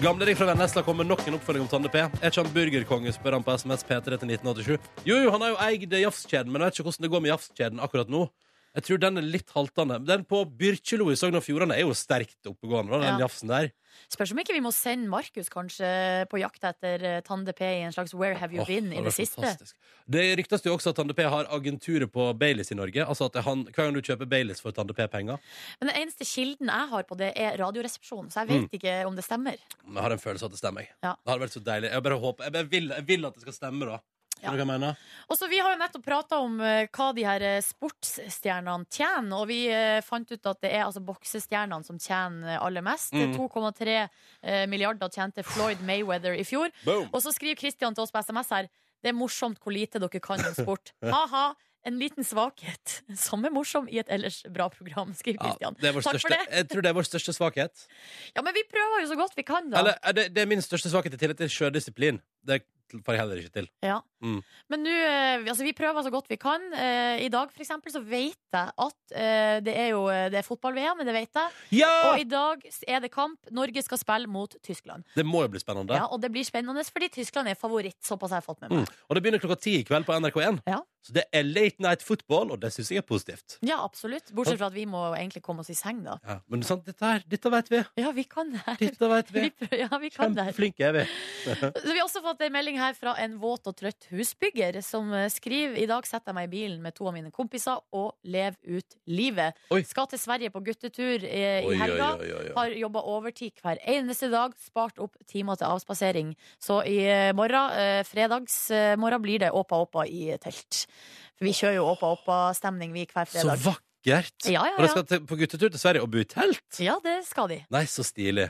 Gamle-Erik fra Vennesla kommer med nok en oppfølging om Tande P. Er ikke han burgerkonge, spør han på SMS P3 til 1987. Jo, jo, han har jo eid Jafskjeden, men jeg vet ikke hvordan det går med Jafskjeden akkurat nå. Jeg tror den er litt haltende. Den på Byrkjelo i Sogn og Fjordane er jo sterkt oppegående, da,
Ja.
den jafsen der.
Spørs om ikke vi må sende Markus kanskje på jakt etter eh, Tande P i en slags Where have you
Åh,
been i
det
det
er
siste.
fantastisk. Det ryktes jo også at Tande P har agenturet på Baileys i Norge. Altså at det er han, Hver gang du kjøper Baileys for Tande P-penger
Men den eneste kilden jeg har på det, er Radioresepsjonen, så jeg vet
Mm.
ikke om det stemmer.
Jeg har en følelse av at det stemmer. jeg.
Ja.
Det hadde vært så deilig. Jeg bare håper, jeg bare vil, jeg vil at det skal stemme, da. Skjønner du hva jeg mener?
Og så Vi har jo nettopp prata om eh, hva de her eh, sportsstjernene tjener, og vi eh, fant ut at det er altså boksestjernene som tjener eh, aller mest. Det
Mm.
er 2,3 eh, milliarder tjente Floyd Mayweather i fjor.
Boom.
Og så skriver Christian til oss på SMS her det er morsomt hvor lite dere kan om sport. Ha-ha. En liten svakhet som er morsom i et ellers bra program, skriver
Ja,
Christian.
det er vår
Takk
største,
for det.
jeg tror det er vår største svakhet.
Ja, Men vi prøver jo så godt vi kan, da.
Eller, eh, det, det er min største svakhet i tillegg til sjødisiplin. Det får jeg heller ikke til.
Ja.
Mm.
Men nå, eh, vi- altså, vi prøver så godt vi kan. Eh, I dag for eksempel, så vet jeg at eh, det er jo eh, det er fotball-VM, men det vet jeg.
Ja!
Og i dag er det kamp. Norge skal spille mot Tyskland.
Det må jo bli spennende.
Ja, og det blir spennende fordi Tyskland er favoritt. Såpass har jeg fått med meg.
mm. Og det begynner klokka ti i kveld på NRK1. Så det er late night football, og det syns jeg er positivt.
Ja, absolutt. Bortsett fra at vi må egentlig komme oss i seng, da.
Ja, men sant, dette, her, dette vet vi.
Ja, vi kan det her.
Dette vet vi.
Vi prøver- ja, vi kan det her.
Flinke er vi.
Så vi har også fått en melding her fra en våt og trøtt husbygger som eh, skriver I dag setter jeg meg i bilen med to av mine kompiser og lever ut livet. Skal til Sverige på guttetur eh,
Oi,
i helga.
oi, oi, oi, oi.
Har jobba overtid hver eneste dag. Spart opp timer til avspasering. Så i eh, morgen, eh, fredags eh, morgen, blir det Åpa Åpa i telt. For vi kjører jo Åpa Åpa-stemning, vi, hver
Så
fredag.
vakkert!
Ja, ja,
Og de
ja.
skal til, på guttetur til Sverige og bo i telt?
Ja, det skal de.
Nei, så stilig.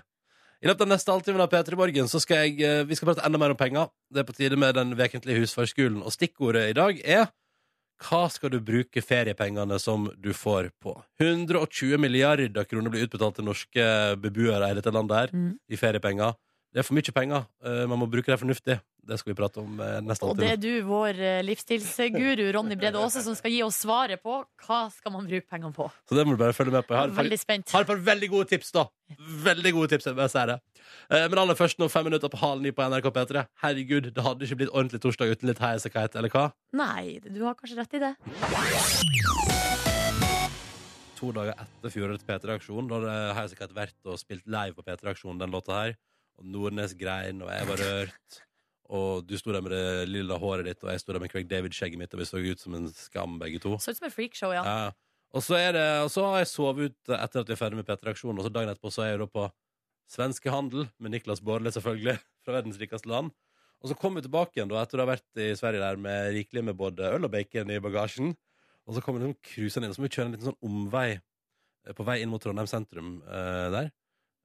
I løpet av neste halvtime av P3 Morgen så skal jeg, eh, vi skal prate enda mer om penger. Det er på tide med den vekentlige husfarskolen. Og stikkordet i dag er hva skal du bruke feriepengene som du får på? 120 milliarder kroner blir utbetalt til norske beboere i dette landet her
Mm.
i feriepenger. Det er for mye penger. Eh, Man må bruke det fornuftig. Det skal vi prate om eh, neste
Og det
halvtime.
er du, vår eh, livsstilsguru Ronny Brede Aase, som skal gi oss svaret på hva skal man bruke pengene på.
Så det må du bare følge med på. Jeg har et par-
Veldig spent.
Har et par veldig gode tips, da. Veldig gode tips, jeg bare sier det. Eh, Men aller først nå fem minutter på halen i på NRK P3. Herregud, det hadde ikke blitt ordentlig torsdag uten litt heisekite, eller hva?
Nei, du har kanskje rett i det.
To dager etter fjorårets P3-aksjon, da hadde heisekite vært og spilt live på P3-aksjonen, den låta her. Og Nordnes grein, og jeg var rørt. Og du sto der med det lilla håret ditt, og jeg sto der med Craig David-skjegget mitt, og vi så ut som en skam, begge to.
Så ut som et freakshow, ja.
Ja. Og så, er det, og så har jeg sovet ut etter at vi er ferdig med P3-aksjonen, og så dagen etterpå så er jeg da på Svenske handel med Niklas Bårdle, selvfølgelig, fra verdens rikeste land. Og så kom vi tilbake igjen da, etter å ha vært i Sverige der med rikelig med både øl og bacon i bagasjen. Og så kommer liksom cruiseren inn, og så må vi kjøre en liten sånn omvei eh, på vei inn mot Trondheim sentrum eh, der.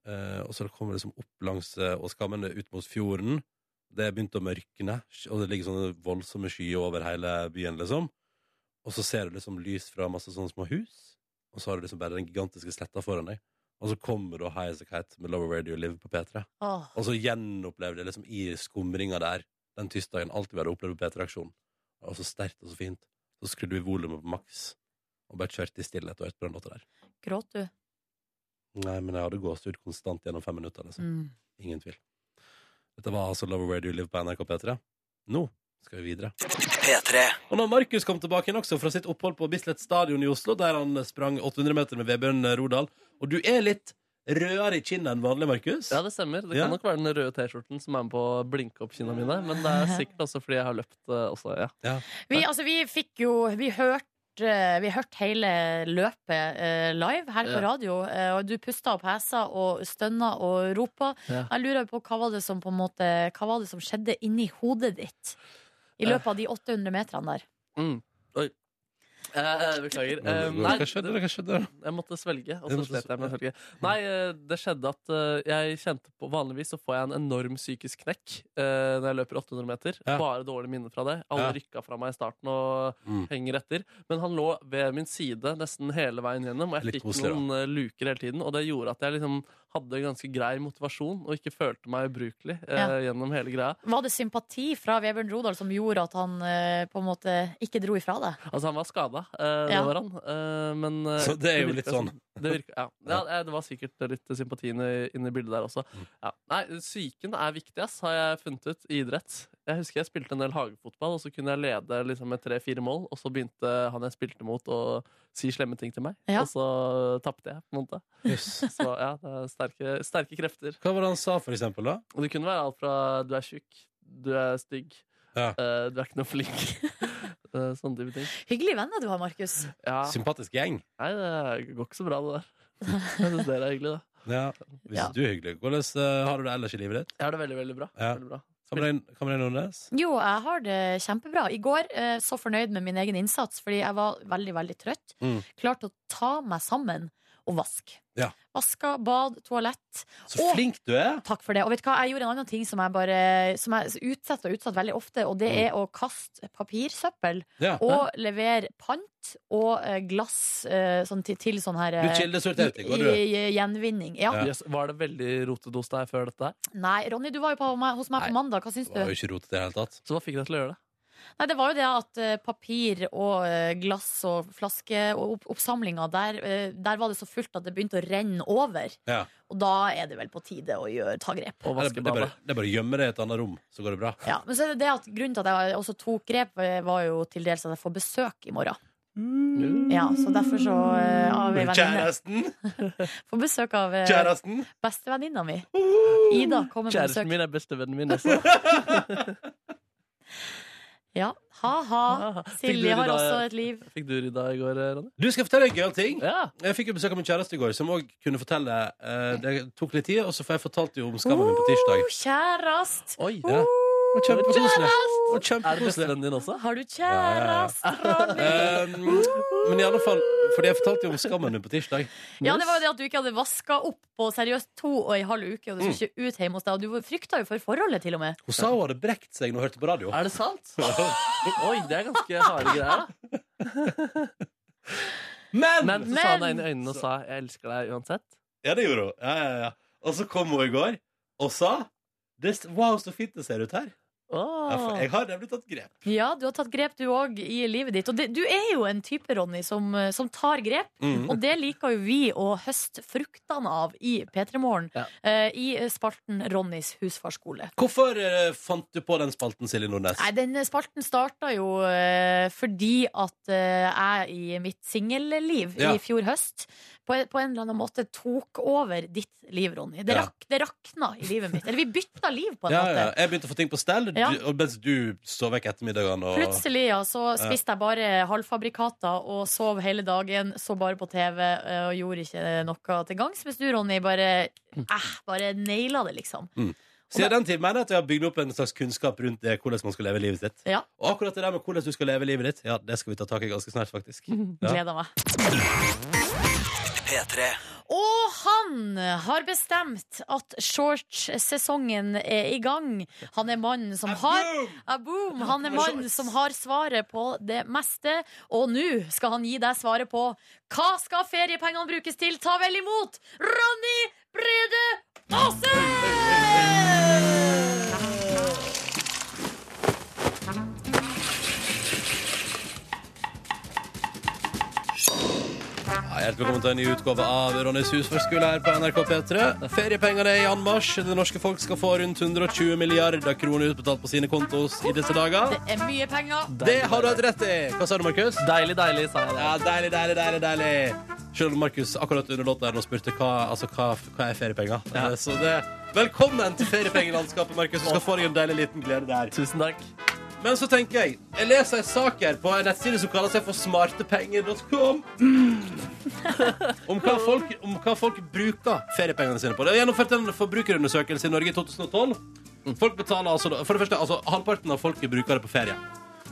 Eh, og så kommer det liksom opp langs eh, Åskammen ut mot fjorden. Det begynte å mørkne, og det ligger sånne voldsomme skyer over hele byen, liksom. Og så ser du liksom lys fra masse sånne små hus, og så har du liksom bare den gigantiske sletta foran deg. Og så kommer da High As A Kite med Lower Where Do You Live på P3.
Åh.
Og så gjenopplevde jeg liksom i skumringa der den tirsdagen alt vi hadde opplevd på P3-aksjonen. Det var så sterkt og så fint. Så skrudde vi volumet på maks og bare kjørte i stillhet og hørte på den låta der.
Gråt du?
Nei, men jeg hadde gåsehud konstant gjennom fem minutter, liksom.
Mm.
Ingen tvil. Dette var altså Lover Where Do You Live på NRK P3. Nå skal vi videre. Og når Markus kom tilbake igjen også fra sitt opphold på Bislett Stadion i Oslo, der han sprang 800 meter med Vebjørn Rodal, og du er litt rødere i kinnet enn vanlig, Markus?
Ja, det stemmer. Det
Ja.
kan nok være den røde T-skjorten som er med på å blinke opp kinna mine. Men det er sikkert også fordi jeg har løpt eh, også, ja.
Vi, altså, vi fikk jo Vi hørte vi hørte hele løpet eh, live her på
Ja.
radio, eh, og du pusta og pesa og stønna og ropa.
Ja.
Jeg lurer på hva var det som på en måte Hva var det som skjedde inni hodet ditt
Eh.
i løpet av de 800 meterne der?
Mm. Oi. Eh, eh, beklager. Eh,
Hva- hva-
nei,
hva skjedde? Hva skjedde?
Jeg måtte svelge, og
Jeg
så
måtte
slet jeg med å svelge. Nei, eh, det skjedde at eh, jeg kjente på Vanligvis så får jeg en enorm psykisk knekk eh, når jeg løper 800 meter.
Ja.
Bare dårlige minner fra det.
Ja.
Alle rykka fra meg i starten og
Mm.
henger etter. Men han lå ved min side nesten hele veien gjennom, og jeg
Litt
fikk
koselig, da.
noen eh, luker hele tiden. Og det gjorde at jeg liksom hadde ganske grei motivasjon og ikke følte meg ubrukelig eh, gjennom hele greia.
Var det sympati fra Vebjørn Rodal som gjorde at han eh, på en måte ikke dro ifra deg?
Altså, han var skada, det
Ja.
var han. Eh, men eh,
Så det er jo litt
virka som-
sånn.
Det, virka, ja. Ja, eh, det var sikkert litt sympati inne inne i bildet der også.
Mm.
Ja. Nei, psyken er viktig, ass, har jeg funnet ut i idrett. Jeg husker jeg spilte en del hagefotball, og så kunne jeg lede liksom, med tre-fire mål, og så begynte han jeg spilte mot, å si slemme ting til meg.
Ja.
Og så tapte jeg, på en måte.
Jøss.
Så ja, det er sterke, sterke krefter.
Hva var det han sa, for eksempel, da?
Og det kunne være alt fra du er tjukk, du er stygg,
Ja.
eh, du er ikke noe flink. Eh, Sånne type ting.
Hyggelige venner du har, Markus.
Ja.
Sympatisk gjeng.
Nei, det går ikke så bra, det der. Jeg syns dere er hyggelig, da.
Ja, Hvis
Ja.
du er hyggelig. Hvordan eh, har du det ellers i livet ditt?
Jeg har det veldig, veldig bra.
Ja.
Veldig bra.
Kamerein Kamerein Nordnes?
Jo, jeg har det kjempebra. I går eh, så fornøyd med min egen innsats, fordi jeg var veldig, veldig trøtt.
Mm.
Klarte å ta meg sammen og vaske.
Ja.
Vaska, bad, toalett.
Så
Å!
flink du er!
Takk for det. Og vet du hva, jeg gjorde en annen ting som jeg bare Som jeg utsetter og utsetter veldig ofte, og det
Mm.
er å kaste papirsøppel.
Ja.
Og levere pant og eh, glass eh, sånn til, til sånn her eh,
Du kildesorterte i går, du.
i- i- Gjenvinning. Ja.
Ja.
Yes, var det veldig rotedos der før dette? her?
Nei, Ronny, du var jo på, meg- hos meg
Nei.
på mandag. Hva syns
Det
du?
var jo ikke rotete i det hele tatt.
Så hva fikk deg til å gjøre det?
Nei, det var jo det at eh, papir og eh, glass og flaske og opp oppsamlinga der, eh, der var det så fullt at det begynte å renne over.
Ja.
Og da er det vel på tide å gjøre, ta grep.
Og
Nei, Det, det, er bare,
vaskebadet?
det er bare å gjemme det i et annet rom, så går det bra.
Ja, men så er det det at grunnen til at jeg også tok grep, eh, var jo til dels at jeg får besøk i morgen.
Mm.
Ja, så derfor så eh, av ei venninne.
Kjæresten!
Får besøk av eh,
Kjæresten!
bestevenninna mi.
Uhuh!
Ida kommer på
Kjæresten
besøk.
min er bestevennen min også.
Ja, ha-ha.
Ah, fikk du
Silje
det
har
da-
også et liv.
Fikk du rydda i går, Ronny?
Du skal jeg fortelle en gøyal ting.
Ja.
Jeg fikk jo besøk av min kjæreste i går, som òg kunne fortelle. eh, det tok litt tid, og så får jeg fortalt jo om skammen min på tirsdag.
Oh, kjærest! Oh,
Oi.
Ja. Og kjempekoselig. Og
Er det
kjempekoselig.
bestevennen din også?
Har du
ja, ja.
kjærest, Ronny?
Um, men i alle fall, fordi jeg fortalte jo om skammen min på tirsdag.
Ja, det var jo det at du ikke hadde vaska opp på seriøst to og en halv uke, og du
Mm.
skulle ikke ut hjemme hos deg, og du frykta jo for forholdet, til og med.
Hun sa hun hadde brekt seg når hun hørte på radio.
Er det sant? Oi, det er ganske harde greier. da.
Men!
Men så sa
Men-
han deg inn i øynene og sa 'jeg elsker deg uansett'.
Ja, det gjorde hun. Ja, ja, ja. Og så kom hun i går og sa det, Wow, så fint det ser ut her. Ja, for
Åh.
Jeg har nemlig tatt grep.
Ja, du har tatt grep, du òg, i livet ditt. Og det, du er jo en type, Ronny, som, eh, som tar grep.
Mm.
Og det liker jo vi å høste fruktene av i P3 Morgen.
Ja.
eh, I spalten Ronnys husfarskole.
Hvorfor eh, fant du på den spalten, Silje Nordnes?
Nei, den spalten starta jo eh, fordi at eh, jeg i mitt singelliv
Ja.
i fjor høst på, en- på en eller annen måte tok over ditt liv, Ronny. Det,
Ja.
rak, det rakna i livet mitt. Eller vi bytta liv, på en
Ja, ja.
måte.
Jeg begynte å få ting på stell, du-
Ja.
og mens du sov vekk ettermiddagene. Og...
Plutselig ja, så
Ja.
spiste jeg bare halvfabrikater og sov hele dagen, så bare på TV eh, og gjorde ikke noe til gangs. Mens du, Ronny, bare, eh, bare naila det, liksom.
Mm. Siden den tid mener jeg at jeg har bygd opp en slags kunnskap rundt det, hvordan man skal leve livet sitt.
Ja.
Og akkurat det der med hvordan du skal leve livet ditt, ja, det skal vi ta tak i ganske snart, faktisk. Ja.
Gleder meg. Og han har bestemt at shortsesongen er i gang. Han er mannen som har A boom! Han er
Med
mannen som har svaret på det meste. Og nå skal han gi deg svaret på hva skal feriepengene brukes til? Ta vel imot Ronny Brede Aase!
Ja, hjertelig velkommen til en ny utgave av Ronnys hus for skole her på NRK P3. Feriepengene er i anmarsj. Det norske folk skal få rundt 120 milliarder kroner utbetalt på sine kontos i disse dager.
Det er mye penger.
Det har du hatt rett i! Hva sa du, Markus?
Deilig, deilig, sa jeg.
Ja, deilig, deilig, deilig, deilig. Selv om Markus akkurat under låten her nå spurte hva, altså, hva, hva er feriepenger. Eh, Så det, velkommen til feriepengelandskapet, Markus. Du skal få deg en deilig liten glede der.
Tusen takk.
Men så tenker jeg, jeg leser en sak her på en nettside som kaller seg for smartepenger.com. Om hva, folk, om hva folk bruker feriepengene sine på. Det er gjennomført en forbrukerundersøkelse i Norge i 2012. Folk betaler altså, for det første, altså Halvparten av folket bruker det på ferie.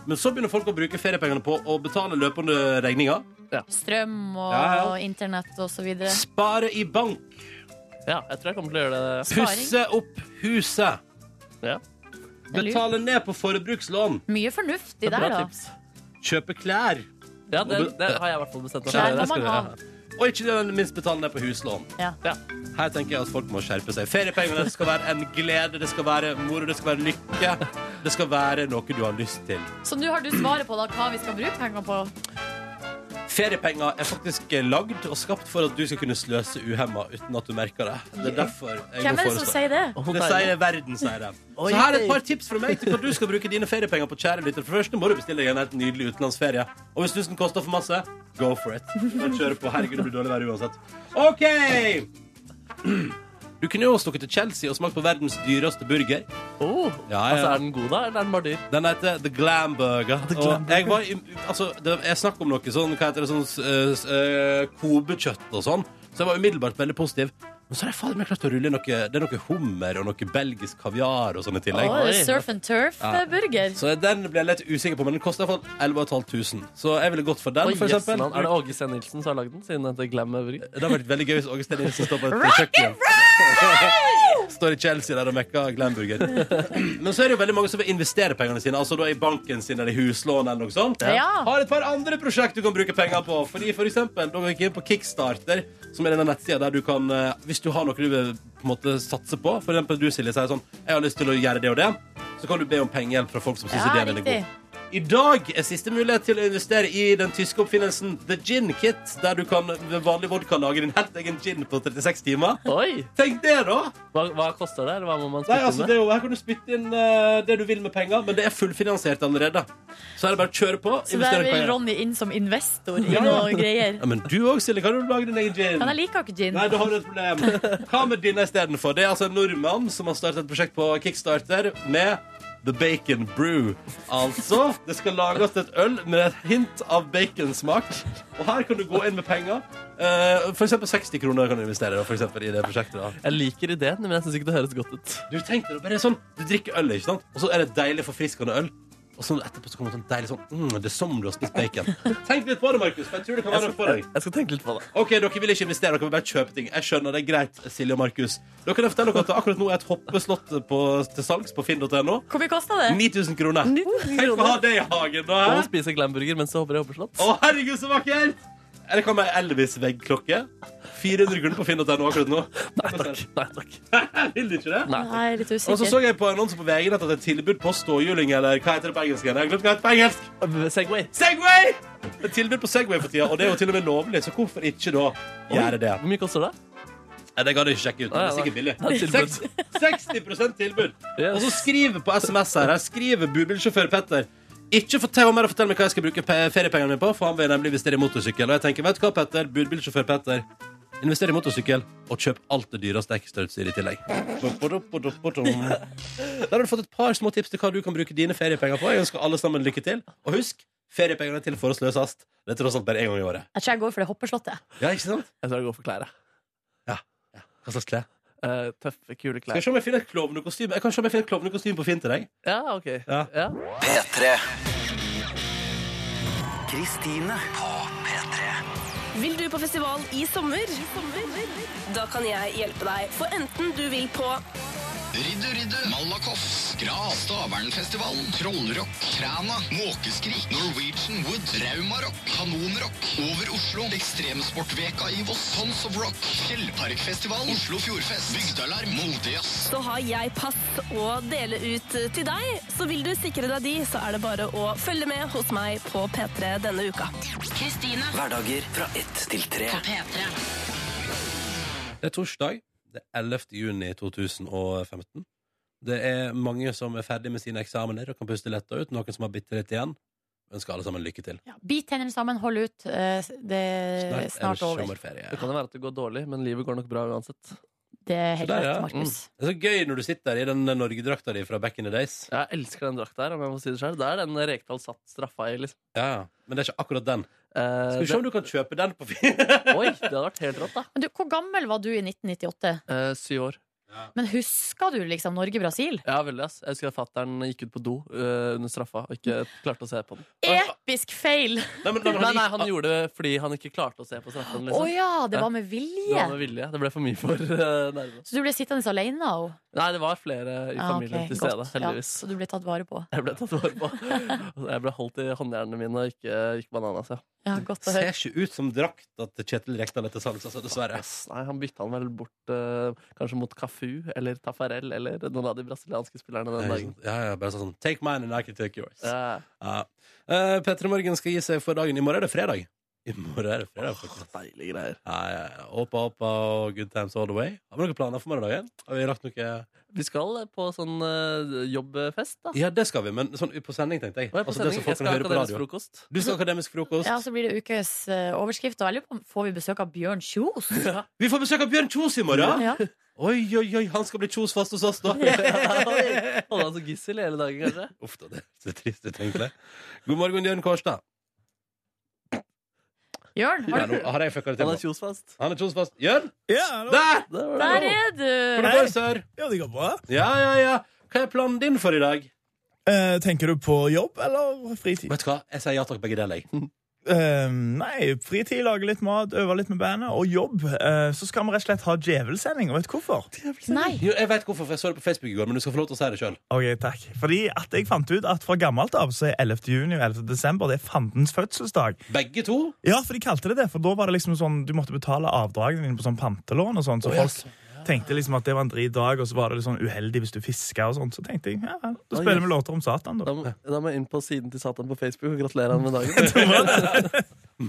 Men så begynner folk å bruke feriepengene på å betale løpende regninger.
Strøm og,
Ja, ja.
og internett og så videre.
Spare i bank.
Ja, jeg tror jeg kommer til å gjøre det.
Pusse opp huset.
Ja.
er lurt.
Betale ned på forbrukslån.
Mye fornuftig der, da.
Kjøpe klær.
Ja, det, det har jeg i hvert fall bestemt meg
Klær
for.
må man ha.
Og ikke minst betale ned på huslån.
Ja.
Ja.
Her tenker jeg at folk må skjerpe seg. Feriepengene skal være en glede, det skal være moro, det skal være lykke. Det skal være noe du har lyst til.
Så nå har du svaret på da, hva vi skal bruke penger på.
Feriepenger er faktisk lagd og skapt for at du skal kunne sløse uhemma uten at du merker det. Det er derfor jeg
Hvem
må
er det som
foreslå-
sier det?
Det sier verden, sier det. Så her er et par tips fra meg til hva du skal bruke dine feriepenger på. kjære lytter. For det første må du bestille deg en helt nydelig utenlandsferie. Og hvis du syns den koster for masse, go for it. Men kjør på. Herregud, det blir dårlig vær uansett. OK! Du kunne jo stukket til Chelsea og smakt på verdens dyreste burger.
Oh,
Ja,
altså,
ja.
er den god, da? Eller er den bare dyr?
Den heter The Glam Burger.
Glam
Og jeg var i, altså, det, jeg snakket om noe sånn, hva heter det, sånn eh, s- eh, kobekjøtt og sånn. Så jeg var umiddelbart veldig positiv. Men så har jeg fader meg klart å rulle i noe, det er noe hummer og noe belgisk kaviar og sånn i tillegg.
Å, surf and eh,
Ja.
turf-burger.
Så den ble jeg litt usikker på, men den kosta iallfall 11 500. Så jeg ville gått for den,
Oi,
for
jøss,
eksempel.
mann. er det Åge Sten Nilsen som har lagd den? Siden den heter Glam Burger.
Det hadde vært veldig gøy hvis Åge Steen Nilsen står på et kjøkken. Står i Chelsea der og mekker Glamburger. Men så er det jo veldig mange som vil investere pengene sine, altså da i banken sin eller i huslån eller noe sånt.
Ja.
Har et par andre prosjekt du kan bruke penger på. Fordi for eksempel, da gikk jeg inn på Kickstarter, som er denne nettsida der du kan eh, Hvis du har noe du vil på en måte satse på, for eksempel du, Silje, sier sånn Jeg har lyst til å gjøre det og det, så kan du be om pengehjelp fra folk som syns
Ja,
ideen din er
riktig.
god. I dag er siste mulighet til å investere i den tyske oppfinnelsen The Gin Kit, der du kan ved vanlig vodka lage din helt egen gin på 36 timer.
Oi!
Tenk det, da!
Hva, hva koster det? Eller hva må
Nei,
man spytte
altså,
inn?
det er jo, her kan du spytte inn eh, det du vil med penger, men det er fullfinansiert allerede. Så er det bare å kjøre på.
Så der
investere i
vil
penger.
Ronny inn som investor i
Ja.
noe greier.
Ja, men du òg, Silje. Kan du lage din egen gin?
Men jeg liker ikke gin.
Nei, da har du et problem. Hva med denne istedenfor? Det er altså en nordmann som har startet et prosjekt på Kickstarter med The Bacon Brew. Altså, det skal lages et øl med et hint av baconsmak. Og her kan du gå inn med penger. Eh, For eksempel 60 kroner kan du investere da, for eksempel, i det prosjektet. da
Jeg liker ideen, men jeg syns ikke det høres godt ut.
Du tenker det bare er sånn Du drikker øl, ikke sant? Og så er det deilig forfriskende øl. Og så etterpå så kommer det sånn deilig sånn mm, Det er som du har spist bacon. Tenk litt på det, Markus. For jeg tror det kan være noe for deg.
Jeg skal tenke litt på det.
Ok, Dere vil ikke investere, dere vil bare kjøpe ting. Jeg skjønner, det er greit, Silje og Markus. Da kan jeg fortelle dere at det akkurat nå er et hoppeslott på, til salgs på finn.no.
Hvor mye kosta
Eh?
det?
9000 kroner. Tenk å ha det i hagen, da!
Og
hæ?
spise Glam Burger mens du hopper i hoppeslott.
Å, herregud, så vakkert! Eller kan være Elvis-veggklokke. 400 kroner på finn.no akkurat nå.
Nei takk. Nei takk.
Vil du ikke det?
Nei,
Nei, jeg er litt
Og så så
usikker.
jeg på annonsen på VG at det er tilbud på ståhjuling, eller hva heter det på engelsk? igjen? Jeg har glemt hva det heter på engelsk!
takk. Segway.
Segway! Det er tilbud på Segway for tida, og det er jo til og med lovlig, så hvorfor ikke da gjøre det?
Hvor mye koster det?
Nei, det gadd jeg ikke sjekke ut. men Det er sikkert billig.
Nei, tilbud.
Seks- 60 tilbud.
Yes.
Og så skriver på SMS her, her skriver budbilsjåfør Petter Ikke fortell meg, fortell meg hva jeg skal bruke pe- feriepengene mine på, for han vil nemlig investere i motorsykkel. Og jeg tenker, vet du hva, Petter? Budbilsjåfør Petter. Invester i motorsykkel, og kjøp alt det dyreste ekstrautstyret i tillegg. Der har du fått et par små tips til hva du kan bruke dine feriepenger på. Jeg ønsker alle sammen lykke til. Og husk, feriepengene er til for å sløses. Det er tross alt bare én gang i året.
Jeg tror jeg går for det hoppeslottet.
Ja, ikke sant?
Jeg tror jeg går for klær. jeg.
Hva slags klær?
Eh, tøffe, kule
Skal
klær.
jeg se om jeg finner et klovnekostyme Jeg kan se om jeg finner et klovnekostyme på Finn til deg.
Ja, OK.
Ja.
P3.
Kristine på P3. Vil du på festival i sommer? Da kan jeg hjelpe deg, for enten du vil på
Riddu, riddu, Malakoff, Skra, Stavernfestival, Trollrock, Kræna, Måkeskrik, Norwegian Wood, Raumarock, Kanonrock, Over Oslo, Ekstremsportveka i Voss, Sons of Rock, Fjellparkfestival, Oslo Fjordfest, Bygdealarm, Moldejazz.
så har jeg pass å dele ut til deg. Så vil du sikre deg de, så er det bare å følge med hos meg på P3 denne uka. Kristine.
Hverdager fra ett til tre.
Det er torsdag. Det er 11. juni 2015. Det er mange som er ferdig med sine eksamener og kan puste letta ut. Noen som har bitte litt igjen. Ønsker alle sammen lykke til.
Bit tennene sammen, hold ut. eh, Det er snart over.
Det kan jo være at det går dårlig, men livet går nok bra uansett.
Det er helt
Der,
rett,
ja.
Markus.
Mm. Det er så gøy når du sitter der i den Norgedrakta di fra back in the days.
Jeg elsker den drakta her, om jeg må si det selv. Det er den Rekdal satt straffa i, liksom. Eh,
Ja, Men det er ikke akkurat den. Skal vi se
det-
om du kan kjøpe den på Finn?
Oi, det hadde vært helt rått, da.
Men du, hvor gammel var du i 1998?
Eh, syv år.
Men husker du liksom Norge-Brasil?
Ja, veldig, ass. Jeg husker at fattern gikk ut på do eh, under straffa og ikke klarte å se på den.
Episk feil!
Nei, men-
Nei,
men han
nei,
gikk-
han gjorde det fordi han ikke klarte å se på
Å
straffen. Liksom.
ja, det var med vilje.
Det var med vilje. Det ble for mye for eh, nervene.
Så du ble sittende alene? Og...
Nei, det var flere i
Ja,
familien
Ah, ok,
til
godt.
stede, heldigvis.
Ja, så du ble tatt vare på.
Jeg ble tatt vare på. Og Jeg ble holdt i håndjernene mine og ikke gikk bananas. Ja.
Ja, godt å
Ser
høre.
ikke ut som drakta til Kjetil Rekdal etter salgs, altså, dessverre.
Nei, han bytta han vel bort eh, kanskje mot Cafu eller Tafarel eller noen av de brasilianske spillerne den
Ja,
dagen.
ja, ja, bare sånn Take mine and I can take yours.
Ja.
Eh, Petter i Morgen skal gi seg for dagen. I morgen er det fredag. I morgen er det fredag faktisk.
Deilige greier.
Ja, ja, ja. Eh, Hoppa, hoppa og good times all the way. Har vi noen planer for morgendagen? Har vi lagt noe
Vi skal på sånn eh, jobbfest, da.
Ja, det skal vi, men sånn på sending, tenkte jeg.
Å, ja, på
Altså, det
sending.
som folk
Jeg
kan
skal ha
høre på
akademisk
radio.
frokost.
Du skal ha akademisk frokost.
Ja, altså. så blir det ukes eh, overskrift. Og jeg lurer på om får vi besøk av Bjørn Kjos?
Vi får besøk av Bjørn Kjos i morgen!
Ja.
Oi, oi, oi, han skal bli Kjos fast hos oss, da! det
Holde han som gissel hele dagen, kanskje?
Uff da, det ser trist ut, egentlig. God morgen, Jørn Kårstad.
Jørn,
Ja,
har du...
nå har jeg fucka det til.
Han er kjosfast.
Han er kjosfast. Jørn?
Ja,
Der!
Der er du!
Hvordan går det, sør?
Ja, det går bra.
Ja, ja, ja. Hva er planen din for i dag?
Eh, tenker du på jobb eller fritid?
Vet du hva, jeg sier ja takk, begge deler. jeg.
Eh, nei, fritid, lage litt mat, øve litt med bandet, og jobb. Eh, så skal vi rett og slett ha djevelsending, og vet du hvorfor?
Nei.
Jo, jeg vet hvorfor, for jeg så det på Facebook i går, men du skal få lov til å si det sjøl.
Ok, takk. Fordi at jeg fant ut at fra gammelt av så er 11. juni og 11. desember det er fandens fødselsdag.
Begge to?
Ja, for de kalte det det. For da var det liksom sånn, du måtte betale avdragene dine på sånn pantelån og sånn. Så
Å, ja,
folk tenkte liksom at det var en drit dag, og så var det litt sånn uheldig hvis du fiska og sånn. Så tenkte jeg, ja, vel, da spiller vi låter om Satan,
Da
da.
må, da må jeg inn på siden til Satan på Facebook og gratulere han med dagen.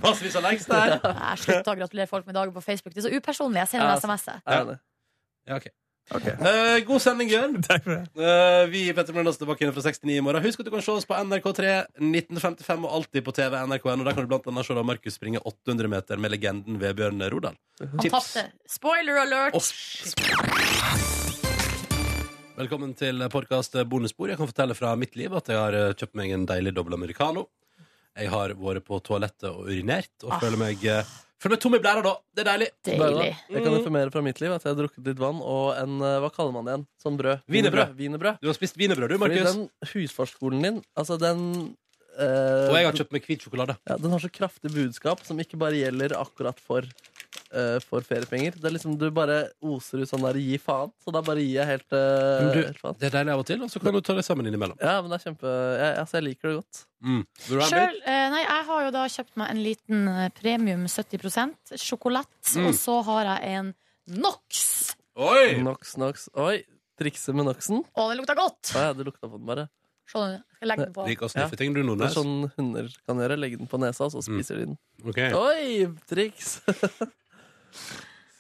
Massevis av likes der.
Nei, slutt å gratulere folk med dagen på Facebook. Det er så upersonlig. Jeg sender
Ja,
en SMS. jeg.
Er det?
Ja, ok. Eh, god sending, Jørn.
Takk for det.
Eh, vi i Petter Møllers tilbake igjen fra 69 i morgen. Husk at du kan se oss på NRK3 1955 og alltid på TV NRK1. Og der kan du blant annet se da Markus springe 800 meter med legenden Vebjørn Rodal.
Han tapte. Spoiler alert!
Velkommen til podcast Bonusbord. Jeg kan fortelle fra mitt liv at jeg har eh, kjøpt meg en deilig dobbel americano. Jeg har vært på toalettet og urinert, og
Ah.
føler meg eh, Føler meg tom i blæra da. Det er deilig.
Deilig.
Jeg
Mm.
kan informere fra mitt liv at jeg har drukket litt vann og en eh, hva kaller man det igjen? Sånn brød.
Wienerbrød.
Wienerbrød.
Du har spist wienerbrød, du,
Fordi
Markus.
den husfarskolen din, altså den eh,
Og jeg har kjøpt meg hvit sjokolade.
ja, Den har så kraftig budskap som ikke bare gjelder akkurat for eh, for feriepenger. Det er liksom Du bare oser ut sånn der 'gi faen', så da bare gir jeg helt, eh,
Men du,
helt faen.
det er deilig av og til, og så kan du ta det sammen innimellom.
Ja, men det er kjempe jeg, altså, jeg liker det godt.
Mm. Vil du ha en bit?
Selv, eh, nei, jeg har jo da kjøpt meg en liten eh, premium 70 sjokolett,
Mm.
og så har jeg en NOx.
Oi!
Nox, nox. Oi! Trikse med noxen.
Å, den lukta godt!
Å ja, det lukta på den bare.
Sånn, skal jeg legge den på.
Liker å sniffe ting, du,
Det
Nordnes.
er sånn hunder kan gjøre. Legge den på nesa, og så spiser de den.
Ok.
Oi, triks!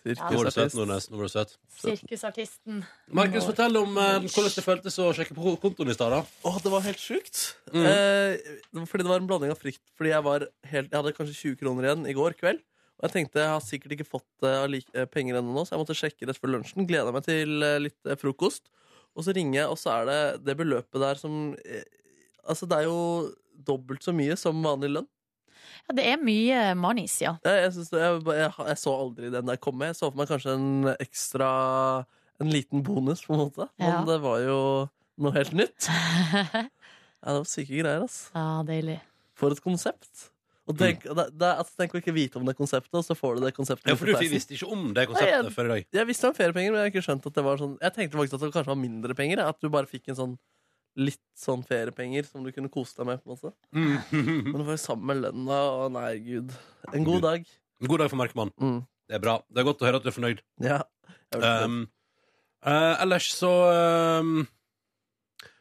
Nå var du søt, Nordnes. Nå var du søt.
Sirkusartisten.
Markus, fortell om eh, hvordan det føltes å sjekke på kontoen i stad. da.
Åh, det var helt sjukt.
Mm.
Eh, det var fordi det var en blanding av frykt. Fordi jeg, var helt, jeg hadde kanskje 20 kroner igjen i går kveld. Og jeg tenkte jeg har sikkert ikke fått eh, allike- eh, penger ennå, nå, så jeg måtte sjekke rett før lunsjen. Gleda meg til eh, litt eh, frokost. Og så ringer jeg, og så er det det beløpet der som eh, Altså, det er jo dobbelt så mye som vanlig lønn.
Ja, det er mye manis, ja.
Jeg, jeg, synes det, jeg, bare- jeg, jeg så aldri den der komme. Jeg så for meg kanskje en ekstra En liten bonus, på en måte. Men
Ja.
det var jo noe helt nytt. Ja, det var syke greier, ass.
Ja, Ah, deilig.
For et konsept. Og tenk, det, det, altså, tenk å ikke vite om det konseptet, og så får du det konseptet.
Ja, for du
under peisen.
visste ikke om det
Nei,
konseptet
jeg-
før i dag.
Jeg visste om feriepenger, men jeg har ikke skjønt at det var sånn Jeg tenkte faktisk at det kanskje var mindre penger. jeg. At du bare fikk en sånn litt sånn feriepenger som du kunne kose deg med. på en måte
Mm.
Men det var jo sammen med lønna, og nei, gud. En god dag.
God dag for Markmann. Det er bra. Det er godt å høre at du er fornøyd.
Ja.
Um, eh, ellers så um,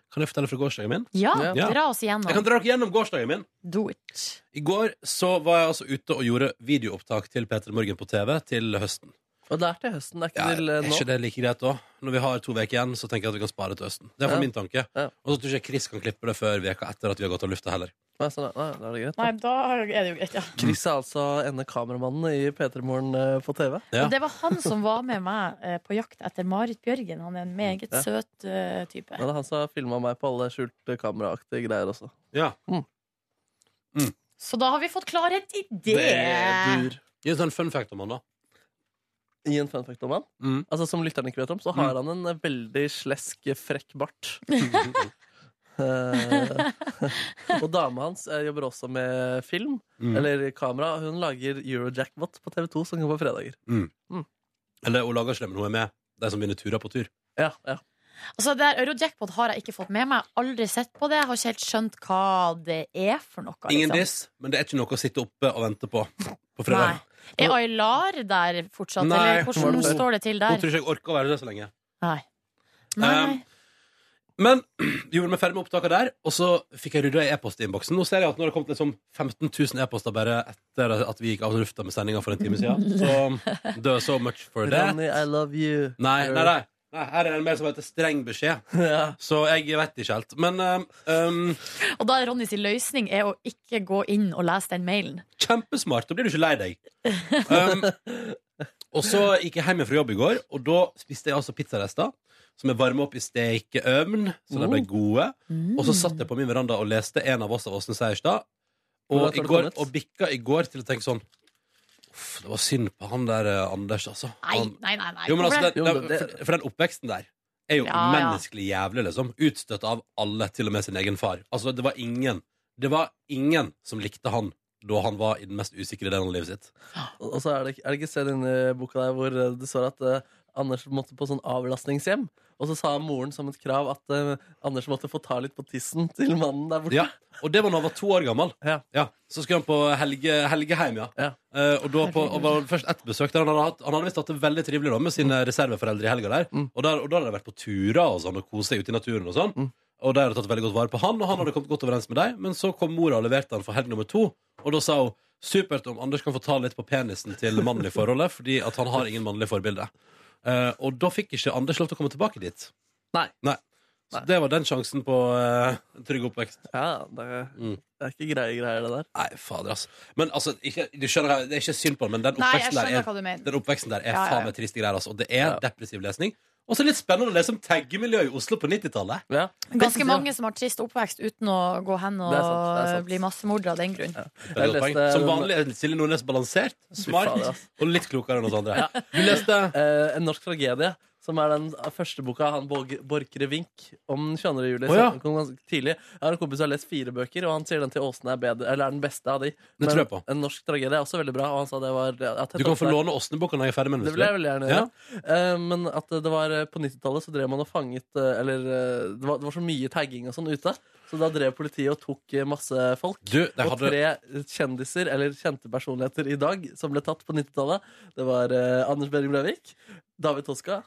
Kan jeg fortelle fra gårsdagen min?
Ja, dra oss igjennom.
Jeg kan dra dere gjennom gårsdagen min.
Do it.
I går så var jeg altså ute og gjorde videoopptak til Peter Morgen på TV til høsten.
Og det er til høsten, det er ikke til eh,
Er
nå.
ikke det like greit da? Når vi har to uker igjen, så tenker jeg at vi kan spare til høsten. Det er for
Ja.
min tanke. Og så tror ikke jeg Chris kan klippe det før veka etter at vi har gått av lufta heller.
Nei, sånn, er- nei, da er det greit. da.
Nei, da er det jo greit, ja.
Chris er altså ene kameramannen i P3 Morgen eh, på TV.
Og det var han som var med meg eh, på jakt etter Marit Bjørgen. Han er en meget
Ja.
søt eh, type.
Ja, det er han som har filma meg på alle skjulte kameraaktige greier også.
Ja.
Så da har vi fått klarhet i det.
Gi oss en fun fact om han, da.
I en fun fact om han?
Mm.
Altså, som lytterne ikke vet om, så har han en eh, veldig slesk, frekk bart. Eh, og dama hans eh, jobber også med film,
Mm.
eller kamera. Hun lager Eurojackpot på TV2, som går på fredager.
Mm.
Mm.
Eller hun lager slemme noe med de som vinner turer på tur.
Ja, ja.
Altså, det her Eurojackpot har jeg ikke fått med meg. Jeg har Aldri sett på det. Jeg har ikke helt skjønt hva det er for noe.
Ingen
liksom.
diss, men det er ikke noe å sitte oppe og vente på på fredag.
Er Aylar der fortsatt,
Nei,
eller
hun
hvordan
var der.
står det til
Hun
der?
tror ikke jeg orker å være der så lenge.
Nei. Nei,
Um, men gjorde meg ferdig med opptaket der, og så fikk jeg rydda i e-postinnboksen. Nå ser jeg at nå har det kommet liksom 15 000 e-poster bare etter at vi gikk av lufta med sendinga for en time siden. Så the so much for that.
Ronny, I love you.
Nei, nei, nei. nei her er det en mer som heter streng beskjed. Så jeg vet ikke helt. Men um, um,
Og da er Ronny sin løsning er å ikke gå inn og lese den mailen.
kjempesmart. Da blir du ikke lei deg. Um, og så gikk jeg hjem fra jobb i går, og da spiste jeg altså pizzarester. Som jeg varma opp i stekeovn, så de ble
Oh.
Mm.
gode. Og så satt jeg på min veranda og leste en av oss av Åsne Seierstad.
Mm. Hvor
Og,
langt har
i
du
går,
kommet?
og bikka i går til å tenke sånn Uff, det var synd på han der eh, Anders, altså.
Nei,
Han,
nei, nei. nei.
jo, men altså,
Hvorfor
den,
det?
den, for, for den oppveksten der er jo
Ja, ja.
menneskelig jævlig, liksom. Utstøtt av alle, til og med sin egen far. Altså, det var ingen Det var ingen som likte han da han var i den mest usikre delen av livet sitt.
Og og så er det, ikke- er det ikke sted inni boka der hvor eh, det står at eh, Anders måtte på sånn avlastningshjem. Og så sa moren som et krav at eh, Anders måtte få ta litt på tissen til mannen der borte.
Ja, og det var da han var to år gammel.
Ja.
Så skulle han på helge, helgeheim, ja. Eh, og da på, og var det først ett besøk der han hadde, hatt, han hadde visst hatt det veldig trivelig da, med sine reserveforeldre i helga der.
Mm.
Og, der. og da hadde de vært på turer og sånn, og kost seg ute i naturen og sånn.
Mm.
Og de hadde tatt veldig godt vare på han, og han hadde kommet godt overens med dem. Men så kom mora og leverte han for helg nummer to, og da sa hun supert om Anders kan få ta litt på penisen til mannen i forholdet, fordi at han har ingen mannlig forbilde. Eh, og da fikk ikke Anders lov til å komme tilbake dit.
Nei.
Så det var den sjansen på eh, trygg oppvekst.
Ja, det,
Mm.
det er ikke greie greier, det der.
Nei, fader, altså. Men altså, ikke, du skjønner, det er ikke synd på ham, men den
Nei, jeg
oppveksten,
skjønner hva du
der, er,
mener.
den oppveksten der
Ja,
er
ja, ja.
faen meg triste greier. Altså. Og det er depressiv lesning. Og så er det litt spennende å lese om taggemiljøet i Oslo på 90-tallet.
Ganske mange som har trist oppvekst uten å gå hen og
Det er sant, det er sant.
bli massemordere av den grunn.
Det er et godt poeng. Som
eh,
vanlig er Silje Nordnes balansert, smart
fader, ass.
og litt klokere enn oss andre.
Du
leste
eh, En norsk tragedie, som er den første boka av han Borg- Borchgre Vink om den 22. juli.
Å, ja.
som kom ganske tidlig. Jeg har en kompis som har lest fire bøker, og han sier den til Åsne er, bedre, eller er den beste av de.
Det tror jeg på.
En norsk tragedie er også veldig bra. Og han sa det var ja, tett
Du kan
opp
få
der.
låne Åsneboka når jeg er ferdig med den.
Det
hvis
vil jeg
du vil.
veldig gjerne
Ja.
gjøre. Eh, Men at det var eh, på 90-tallet så drev man og fanget eh, Eller eh, det var, det var så mye tagging og sånn ute. Så da drev politiet og tok eh, masse folk.
Du, det
Og
hadde-
tre kjendiser, eller kjente personligheter i dag, som ble tatt på 90-tallet, det var eh, Anders Behring Breivik, David Toska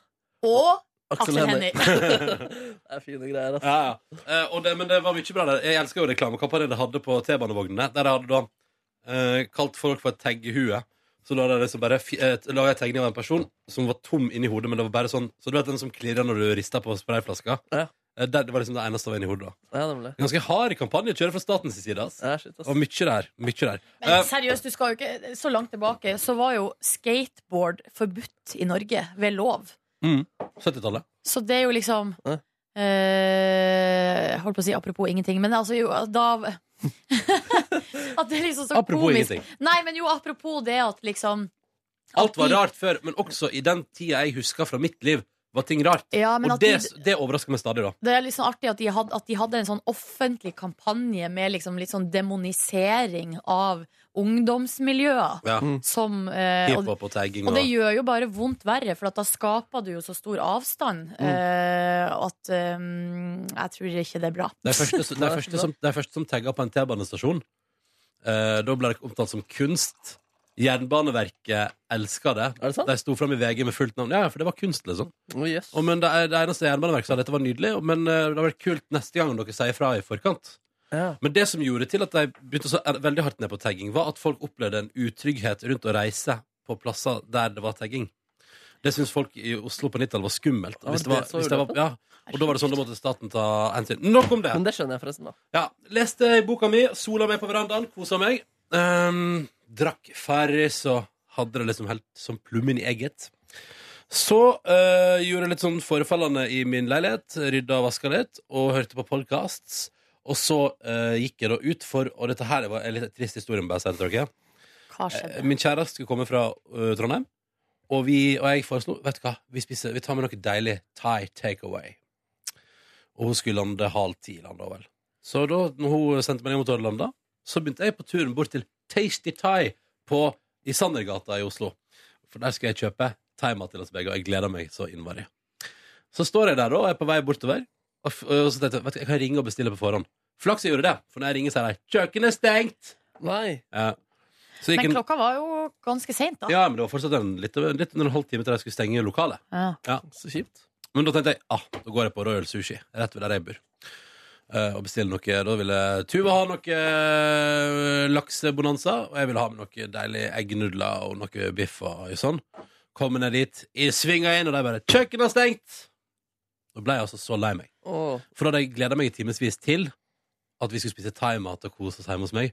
Og
Aksel
Aksel
Hennie. det er fine greier, altså.
Ja, ja. Eh, og det, men det var mye bra der. Jeg elsker jo reklamekampanjen de hadde på T-banevognene. Der de hadde da eh, kalt folk for et taggehue. Så la jeg liksom bare fi- eh, laga jeg tegning av en person som var tom inni hodet, men det var bare sånn Så du vet den som klirrer når du rister på sprayflaska? Eh, Det, det var liksom det eneste som var inni hodet. da
Ja, nemlig.
Ganske hard kampanje å kjøre fra statens side. ass.
ass.
Og mye der. Mye der.
Men
Eh,
seriøst, du skal jo ikke så langt tilbake. Så var jo skateboard forbudt i Norge ved lov.
mm, 70-tallet.
Så det er jo liksom
Ja.
eh, Holdt på å si apropos ingenting, men altså jo da At det er liksom så
Apropos
komisk.
ingenting.
Nei, men jo, apropos det at liksom
Alt var rart før, men også i den tida jeg husker fra mitt liv, var ting rart.
Ja, men
og
at
det,
de-
det overrasker meg stadig, da.
Det er litt sånn artig at de, hadde, at de hadde en sånn offentlig kampanje med liksom litt sånn demonisering av ungdomsmiljøer.
Ja. Mm.
Som, eh, og,
Hiphop og tagging
og
og
det gjør jo bare vondt verre, for at da skaper du jo så stor avstand
Mm.
eh, at eh, Jeg tror ikke det er bra.
De første, de første som, de første som tagga på en T-banestasjon, eh, da ble det omtalt som kunst. Jernbaneverket elska det. De sto fram i VG med fullt navn. Ja, ja, for det var kunst, liksom.
Oh,
Og, men det, er- det eneste Jernbaneverket sa, dette var nydelig, og- men eh, det hadde vært kult neste gang dere sier fra i forkant. Men det som gjorde til at de begynte så er- veldig hardt ned på tagging, var at folk opplevde en utrygghet rundt å reise på plasser der det var tagging. Det syns folk i Oslo på 90-tallet var skummelt.
Ja,
Hvis det
var
var,
det så
hvis det var,
ulempen?
ja. Og da var det sånn, da måtte staten ta hensyn. Nok om det!
Men det skjønner jeg forresten, da.
Ja, leste i boka mi, sola meg på verandaen, kosa meg. Ehm, drakk Farris og hadde det liksom helt som plummen i egget. Så eh, gjorde jeg litt sånn forefallende i min leilighet, rydda og vaska litt, og hørte på podkasts. Og så eh, gikk jeg da ut for Og dette her var en litt trist historie, må jeg bare si til dere.
Hva skjedde?
Eh, Min kjæreste skulle komme fra eh, Trondheim, og, vi, og jeg foreslo Vet du hva, vi, spiser, vi tar med noe deilig Thai takeaway. Og hun skulle lande halv ti, landa hun vel. Så da når hun sendte meg ned mot Oddelanda, så begynte jeg på turen bort til Tasty Thai på, i Sandergata i Oslo. For der skal jeg kjøpe thaimat til oss begge, og jeg gleder meg så innmari. Så står jeg der da, og er på vei bortover, og, f og så tenkte jeg vet du, jeg kan ringe og bestille på forhånd. Flaks jeg gjorde det, for når jeg ringer, sier de 'kjøkkenet er stengt'.
Nei.
Ja. Så gikk
Men
en-
klokka var jo ganske seint, da.
ja, men det var fortsatt en, litt, over- litt under en halvtime til de skulle stenge lokalet.
Ja.
Så kjipt.
Men da tenkte jeg ah, da går jeg på Royal Sushi, rett ved der jeg bor. Eh, og bestiller noe Da ville Tuva ha noe eh, laksebonanza, og jeg ville ha med noe deilig eggnudler og noe biff og sånn. Kommer ned dit, jeg svinger inn, og de bare 'Kjøkkenet er stengt!' Da ble jeg altså så lei meg.
Åh.
For da hadde jeg gleda meg i timevis til at vi skulle spise thaimat og kose oss hjemme hos meg.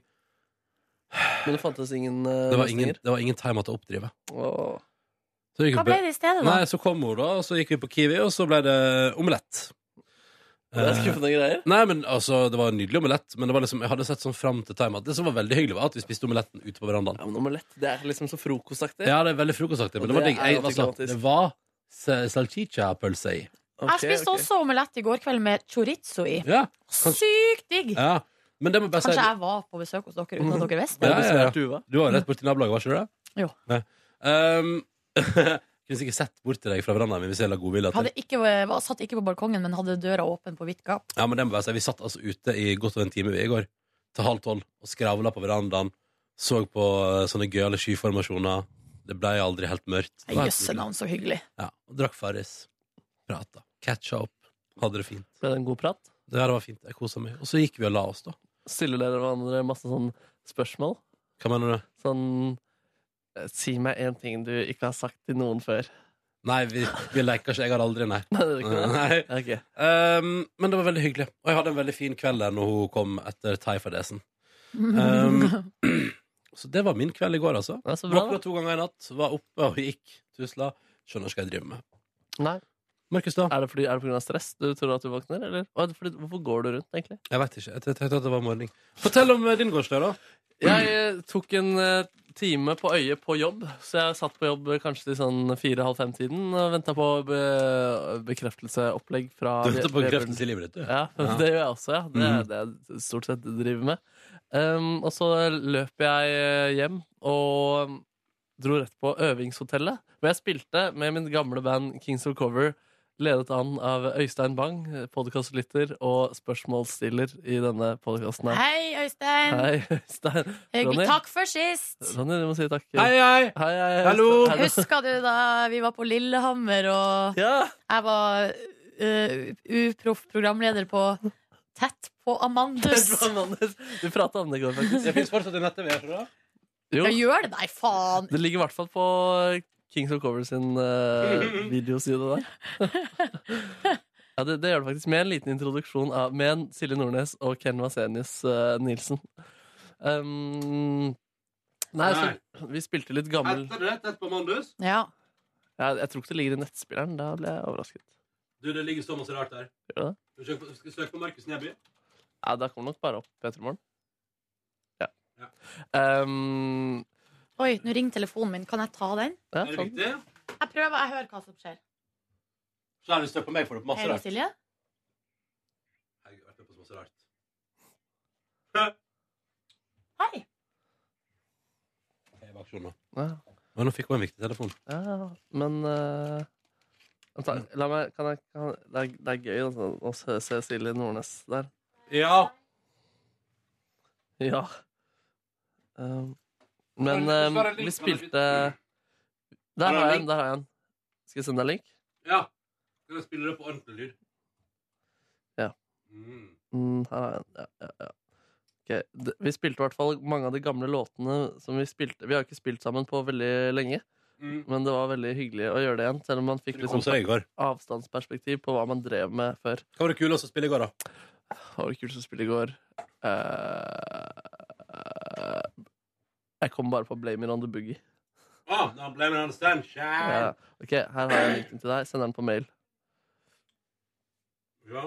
Men det fantes ingen uh,
Det var ingen, det var ingen thaimat å oppdrive. Så gikk
Hva
vi på-
ble det i stedet, da?
Nei, så kom hun, da, og så gikk vi på Kiwi, og så ble det omelett. Eh,
Det er skuffende greier.
Nei, men altså, Det var en nydelig omelett, men det var liksom, jeg hadde sett sånn fram til time at det som var veldig hyggelig, var at vi spiste omeletten ute på verandaen.
Ja, men omelett, det er liksom så frokostaktig.
Ja, det er veldig frokostaktig, men
Og
det var
det
digg.
er
Jeg- Altså,
antiklimatisk.
det var sa- salchicha-pølse i.
jeg spiste også omelett i går kveld med chorizo i.
Ja,
Sykt digg!
ja. Men det må jeg bare si
Kanskje jeg var på besøk hos dere uten at dere visste det?
Ja, ja, ja. Du var jo rett borti nabolaget, var ikke du det?
Jo.
Nei. Um, kunne sikkert sett bort til deg fra verandaen min hvis jeg la godvilje til.
Hadde ikke, var, satt ikke på balkongen, men hadde døra åpen på vidt gap.
Ja, men det må jeg si. Vi satt altså ute i godt over en time vi i går, til halv tolv, og skravla på verandaen. Så på eh, sånne gøyale skyformasjoner. Det ble aldri helt mørkt. Det var helt
Jøsse navn, så hyggelig.
Ja, og drakk Farris. Prata. Catcha opp. Hadde det fint.
Ble det en god prat?
Det her var fint. Jeg kosa meg. Og så gikk vi og la oss, da.
Stiller dere hverandre masse sånn spørsmål?
Hva mener du?
Sånn eh, Si meg én ting du ikke har sagt til noen før.
Nei, vi, vi leker ikke. Jeg har aldri, nei.
Nei, det er ikke det. Ok.
Um, men det var veldig hyggelig. Og jeg hadde en veldig fin kveld der når hun kom etter thaifadesen. Um,
Um,
så det var min kveld i går, altså.
så bra,
Våkna to ganger i natt, var oppe og gikk. Tusla. Skjønner ikke hva jeg driver med.
Nei.
Markus, da?
Er det, fordi, er det på grunn av stress du tror at du våkner, eller? Og er det fordi, hvorfor går du rundt, egentlig?
Jeg vet ikke. Jeg tenkte at det var morgen. Fortell om eh, din gårsdag, da.
Jeg eh, tok en eh, time på øyet på jobb, så jeg satt på jobb eh, kanskje til sånn fire-halv fem-tiden og venta på be bekreftelseopplegg fra
Du ventet på
Vebjørn.
bekreftelse i livet ditt, du.
Ja,
Ja.
det gjør jeg også, ja. Det
Mhm.
er det jeg stort sett driver med. Um, og så løp jeg eh, hjem og um, dro rett på øvingshotellet, hvor jeg spilte med min gamle band Kings of Cover, ledet an av Øystein Bang, podkastlytter og spørsmålsstiller i denne podkasten.
Hei, Øystein!
Hei, Øystein.
Hyggelig. Takk for sist!
Ronny, du må si takk.
Hei, hei!
hei, hei
Hallo!
Øystein.
Husker du da vi var på Lillehammer, og jeg var eh, uproff programleder på Tett på Amandus?
Du prata om det i går, faktisk.
Det fins fortsatt i nettet, vi er ikke det?
Jo.
Ja, gjør det? Nei, faen!
Det ligger i hvert fall på Kings of Covers sin eh, videoside der. ja, det, det gjør det faktisk. Med en liten introduksjon av med en Silje Nordnes og Ken Vasenius eh, Nilsen. Um, nei, så vi spilte litt gammel
Etter det, tett på Mandus.
Ja.
ja, Jeg tror ikke det ligger i nettspilleren. Da ble jeg overrasket.
Du, det ligger så masse rart der.
Gjør det det?
Du søk på- Skal søke på Markus Neby.
Ja, det kommer nok bare opp Petter Morgen. Ja.
Ja.
Um,
Oi, nå ringer telefonen min. Kan jeg ta den?
ja,
Er det
sånn.
viktig?
Jeg prøver, jeg hører hva som skjer.
Så er det støtt på meg, får du på masse
Hei,
rart.
Silje.
Jeg har vært med på så masse rart.
Hei.
Jeg er bak skjorten nå.
Ja.
Men nå fikk hun en viktig telefon.
Ja, men eh, vent da, La meg kan jeg, kan, det, er, det er gøy altså, å se, se Silje Nordnes der.
Ja.
Ja. Um, men
Skal jeg- skal jeg
um,
svare link,
vi
eller?
spilte Der
Har du en
har jeg
link?
en. der har jeg en Skal jeg sende deg en link?
Ja. Kan jeg spille det på ordentlig lyd?
Ja.
Mm.
Mm, her har jeg en. Ja, ja, ja. Ok, d- Vi spilte i hvert fall mange av de gamle låtene som vi spilte. Vi har ikke spilt sammen på veldig lenge,
Mm.
men det var veldig hyggelig å gjøre det igjen. Selv om man fikk
Du koser deg i
liksom,
går.
avstandsperspektiv på hva man drev med før.
Hva var det kuleste å spille i går, da?
Hva var det kuleste å spille i går? Eh, jeg kom bare på Blame It On The Boogie.
Ah, no, blame it on the sunshine.
Ja. Ok, her har jeg linken til deg. Sender den på mail.
Ja.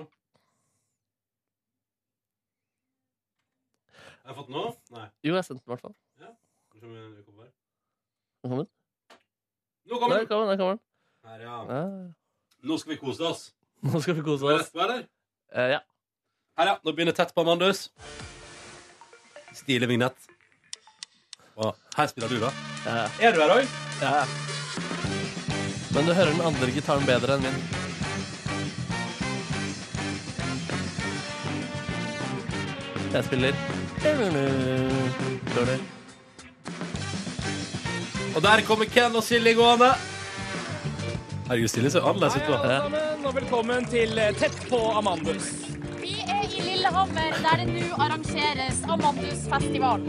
Har jeg fått den nå? Nei.
Jo, jeg sendte den i hvert fall.
Skal vi se om jeg kommer.
Den kommer.
Nå kommer
Der
den!
kommer den. Der kommer den.
Her, ja.
Ja.
Nå skal vi kose oss.
Nå skal vi kose
Er det
oss.
rett på, eller?
Eh, ja.
Her, ja. Nå begynner tett på Amandus. Stilig vignett. Og her spiller du, da.
Ja.
Er du her òg?
Ja. Eh, Men du hører den andre gitaren bedre enn min. Jeg spiller Dårlig.
Og der kommer Ken og Silje gående. Herregud, Silje ser annerledes ut. da.
sammen, og velkommen til eh, Tett på Amandus.
Vi er i Lillehammer, der det nå arrangeres Amandus-festival.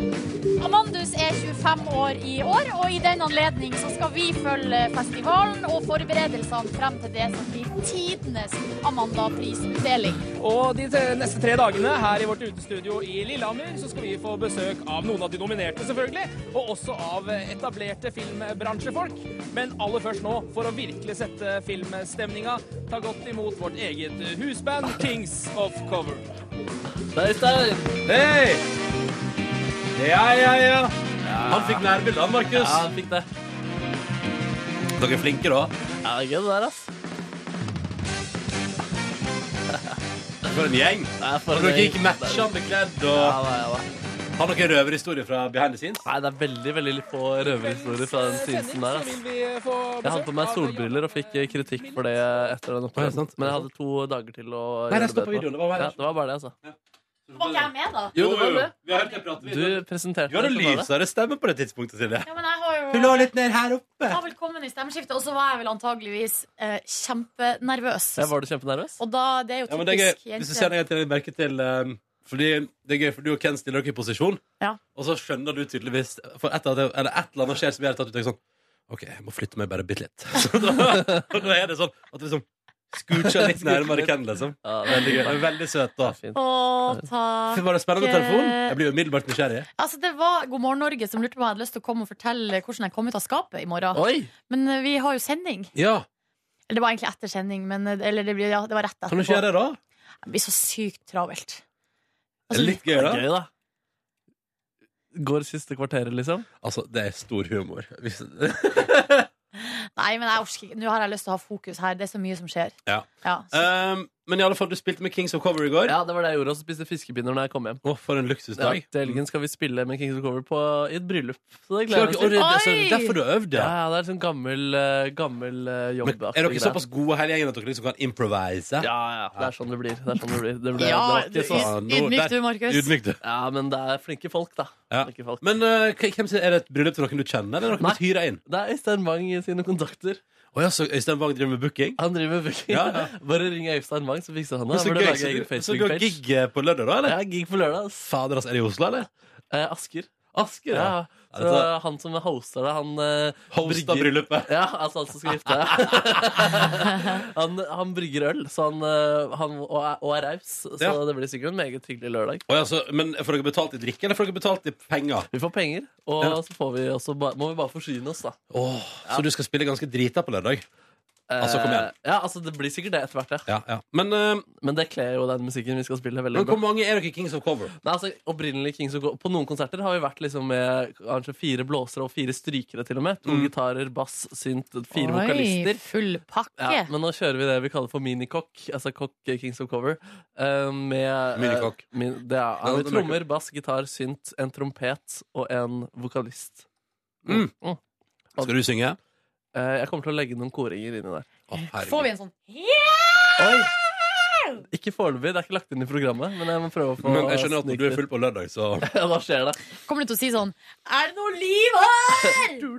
Amandus er 25 år i år, og i den anledning så skal vi følge festivalen og forberedelsene frem til det som blir tidenes Amanda-prisutdeling.
Og de te- neste tre dagene her i vårt utestudio i Lillehammer så skal vi få besøk av noen av de nominerte, selvfølgelig, og også av etablerte filmbransjefolk. Men aller først nå, for å virkelig sette filmstemninga, ta godt imot vårt eget husband Kings of Cover.
Der, Stein!
Hei! Ja, ja, ja. Han fikk nærbilde, han, Markus.
Ja, han fikk det.
Dere er flinke, da.
Ja, det er gøy, det der, ass.
For en gjeng.
Ja, for
Og
en
dere
gjeng.
gikk matchende kledd. Og...
Ja, da, ja, da.
Har dere røverhistorie fra behind the scenes?
Nei, det er veldig veldig litt på røverhistorie fra den stinsen der.
Så
ass.
vil vi få
Jeg hadde på meg solbriller og fikk eh, kritikk for det etter den opptredenen. Men jeg hadde to dager til å
Nei, det
gjøre
står på
bedre.
videoen, det var bare det.
ja, det var bare det, altså.
Var ikke jeg med, da?
Jo, det var det.
Vi har hørt deg prate
Du
videre.
presenterte
Du hadde
det, så var det.
lysere stemme på det tidspunktet, Silje.
Ja, men jeg har jo
Du lå litt ned her oppe.
Jeg var velkommen i stemmeskiftet, og så var jeg vel antageligvis eh, kjempenervøs.
Ja, var du kjempenervøs?
Og da, det er jo
Ja, men det er gøy.
typisk
Hvis du
jente.
kjenner deg til legger merke til ehm, Fordi det er gøy, for du og Ken stiller dere i posisjon,
Ja.
og så skjønner du tydeligvis For et eller annet, eller et eller annet skjer som gjør at du tenker sånn OK, jeg må flytte meg bare bitte litt. Så da, og da er det sånn at du liksom scoocher litt nærmere Ken, liksom.
Ja, det er
Veldig gøy. Det er Veldig søt, da.
Å, takk.
Var det spennende telefon? Jeg blir jo umiddelbart nysgjerrig.
Altså, det var God morgen Norge som lurte på om jeg hadde lyst til å komme og fortelle hvordan jeg kom ut av skapet i morgen.
Oi.
Men eh, vi har jo sending.
Ja,
Eller det var egentlig etter sending, men eh, eller det, blir- ja, det var rett etterpå.
Kan du ikke gjøre det, da?
Det blir så sykt travelt. Altså,
Det er litt gøy, da.
Gøy, da. Går siste kvarteret, liksom?
Altså, det er stor humor. Hvis,
Nei, men jeg orker ikke. Nå har jeg lyst til å ha fokus her. Det er så mye som skjer.
ja.
Ja.
Ehm, men i alle fall, du spilte med Kings of Cover i går.
Ja, det var det jeg gjorde. Og så spiste jeg fiskepinner når jeg kom hjem.
Å, for en luksusdag.
Ja, til helgen skal vi spille med Kings of Cover på, i et bryllup. Så det
Klart,
gleder jeg
og det
meg til.
er så-
Oi!
derfor du øvde.
Ja, ja, det er sånn gammel, eh, gammel eh,
Men
jobbaktig
er dere
greie.
såpass gode hele gjengen at dere liksom kan improvise?
Ja, ja. Det er sånn det blir. Det er sånn det blir. Det ble,
Ja,
det var ikke så-
sånn.
yd- ydmyk du, Markus.
Ydmyk, du.
ja, men det er flinke folk, da.
Ja.
Flinke folk.
Men eh, k- hvem sin, er det et bryllup til noen du kjenner, eller noen
Nei.
du hyrer inn?
Det er Øystein Wang i sine kontakter.
Å ja, så Øystein Wang driver med booking?
Han driver med booking.
Ja, ja.
Bare ring Øystein Wang, så fikser han det.
Men så
Han burde
gøy,
lage
så
egen
du- så du har
Facebook-page.
gig eh, på lørdag, da? eller?
Ja, gig på lørdag. ass.
Fader, altså, er det i Oslo, eller?
Eh, Asker.
Asker,
Ja.
ja.
Så han som hoster det, han eh,
Hosta
brygger-
bryllupet.
Ja, altså han som skal gifte deg. han, han brygger øl, så han, eh, han, og, er- og er raus. Så
Ja.
det blir sikkert en meget hyggelig lørdag.
Å, ja, så, men får dere betalt i drikke, eller får dere betalt i penger?
Vi får penger, og
Ja.
så får vi også, ba- må vi bare forsyne oss, da.
Åh, Så du skal spille ganske drita på lørdag?
Eh,
Altså, kom igjen.
Ja, altså Det blir sikkert det etter hvert.
Ja, ja. Men, eh,
det kler jo den musikken vi skal spille. veldig
Men
bra.
hvor mange er dere i Kings of Cover?
Nei, altså, opprinnelig Kings of Go- På noen konserter har vi vært liksom med kanskje fire blåsere og fire strykere, til og med. To
Mm.
gitarer, bass, synt, fire
Oi,
vokalister.
Full pakke.
Ja, men nå kjører vi det vi kaller for minikokk, altså kokk eh, Kings of Cover. eh, med eh,
Minikokk.
Min, det er,
Ja,
med
det merker
trommer, bass, gitar, synt, en trompet og en vokalist. Mm. Mm.
Skal du synge?
Eh, jeg kommer til å legge noen koringer inni der.
Får vi en sånn
Oi! Ikke foreløpig. Det er ikke lagt inn i programmet. Men jeg må prøve å få
Men jeg skjønner at når du er full på lørdag, så
Ja, da skjer det.
Kommer du til å si sånn Er det noe liv her?!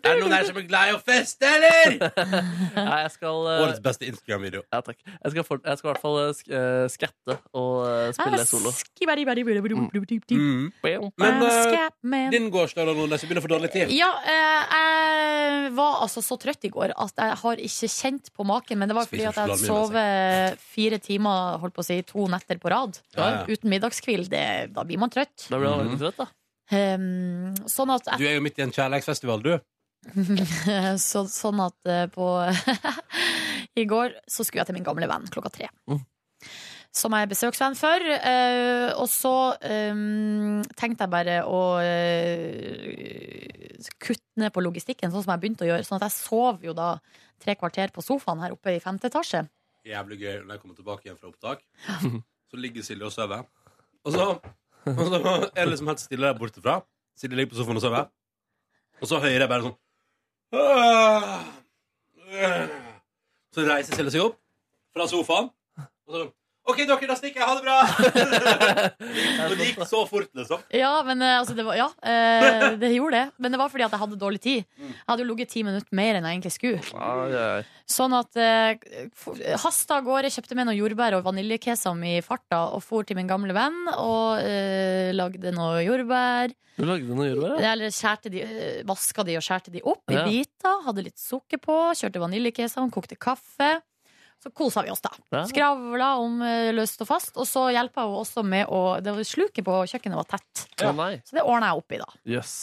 Er det noen her som er glad i å feste, eller?
Nei, jeg skal eh,
Årets beste Instagram-video.
Ja, takk. Jeg skal, for, jeg skal i hvert fall eh, sk eh, skatte og eh, spille solo.
Mm.
Men eh,
Scapman.
din gårsdag, da, Nordnes, jeg begynner å få dårlig tid.
Ja, eh, jeg var altså så trøtt i går at jeg har ikke kjent på maken. Men det var fordi
Spiser
at jeg hadde
sjokolade
sovet
altså.
fire timer, holdt på å si, to netter på rad.
Ja, ja.
Uten middagskvil. Det, da blir man trøtt.
Da blir han veldig trøtt, da.
Um, sånn at jeg
Du er jo midt i en kjærlighetsfestival, du.
så, sånn at eh, på I går så skulle jeg til min gamle venn klokka tre. Som jeg er besøksvenn for. eh, og så eh, tenkte jeg bare å eh, kutte ned på logistikken, sånn som jeg begynte å gjøre. Sånn at jeg sov jo da tre kvarter på sofaen her oppe i femte etasje.
Jævlig gøy når jeg kommer tilbake igjen fra opptak. Så ligger Silje og sover. Og så, og så er det liksom helt stille der borte fra. Silje ligger på sofaen og sover. Og så hører jeg bare sånn «Åh, øh». Så reiser Silje seg opp fra sofaen. Og så sånn, OK, dere, da stikker jeg. Ha det bra! Og det gikk så fort, liksom.
Ja, men eh, altså, det var Ja, eh, det gjorde det. Men det var fordi at jeg hadde dårlig tid. Jeg hadde jo ligget ti minutter mer enn jeg egentlig skulle. Sånn at eh, for- hasta av gårde, kjøpte med noen jordbær og vaniljekesam i farta og for til min gamle venn og eh, lagde noe jordbær.
Du lagde noe jordbær? ja?
Eller skjærte de, eh, vaska de og skjærte de opp i
Ja.
biter. Hadde litt sukker på, kjørte vaniljekesam, kokte kaffe. Så kosa vi oss, da.
Ja.
Skravla om eh, løst og fast. Og så hjelpa hun også med å det var- Sluket på kjøkkenet var tett.
Å nei.
Så det ordna jeg opp i, da.
Jøss.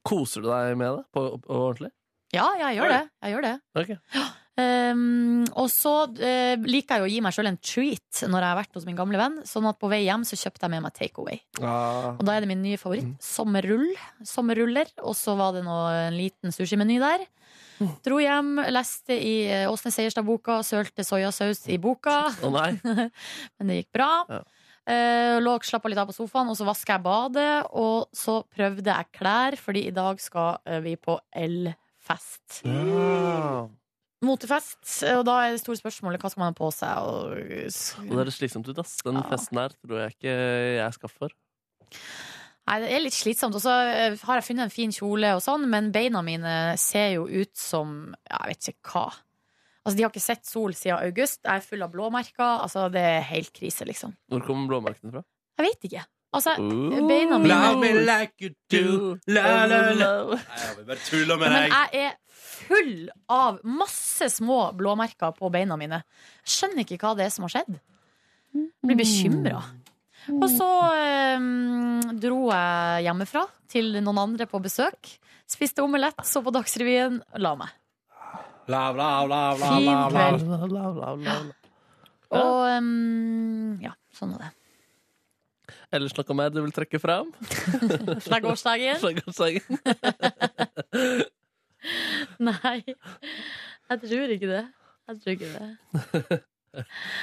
Koser du deg med det på, på ordentlig?
Ja, jeg gjør det. Jeg gjør det.
Ok.
Um, og så eh, liker jeg å gi meg sjøl en treat når jeg har vært hos min gamle venn. Sånn at på vei hjem så kjøpte jeg med meg takeaway.
Ah.
Og da er det min nye favoritt. Sommerrull. Sommerruller. Og så var det nå en liten sushimeny der. Dro hjem, leste i eh, Åsne Seierstad-boka, sølte soyasaus i boka.
Å nei.
Men det gikk bra.
Ja.
Eh, lå og slappa litt av på sofaen, og så vaska jeg badet. Og så prøvde jeg klær, fordi i dag skal eh, vi på elfest. Motefest, og da er det store spørsmålet hva skal man ha på seg. Og...
Det høres slitsomt ut, ass. Den festen her tror jeg ikke jeg skal for.
Nei, det er litt slitsomt. Og så eh, har jeg funnet en fin kjole, og sånn, men beina mine ser jo ut som ja, jeg vet ikke hva. Altså, De har ikke sett sol siden august. Jeg er full av blåmerker. Altså, Det er helt krise, liksom.
Hvor kommer blåmerkene fra?
Jeg vet ikke. Altså,
Ooh.
beina mine
Love me like
you do. La, la, la. Nei, jeg vil bare tulle med
Mm. Men
deg.
jeg er full av masse små blåmerker på beina mine. Skjønner ikke hva det er som har skjedd. Blir bekymra. Og så eh, dro jeg hjemmefra til noen andre på besøk. Spiste omelett, så på Dagsrevyen, la meg.
Bla, bla, bla, bla,
Fin
bla, bla.
kveld. Og eh, ja, sånn var det.
Ellers noe mer du vil trekke fram?
Slaggårsdagen?
Slaggårsdagen.
Nei, jeg tror ikke det. Jeg tror ikke det.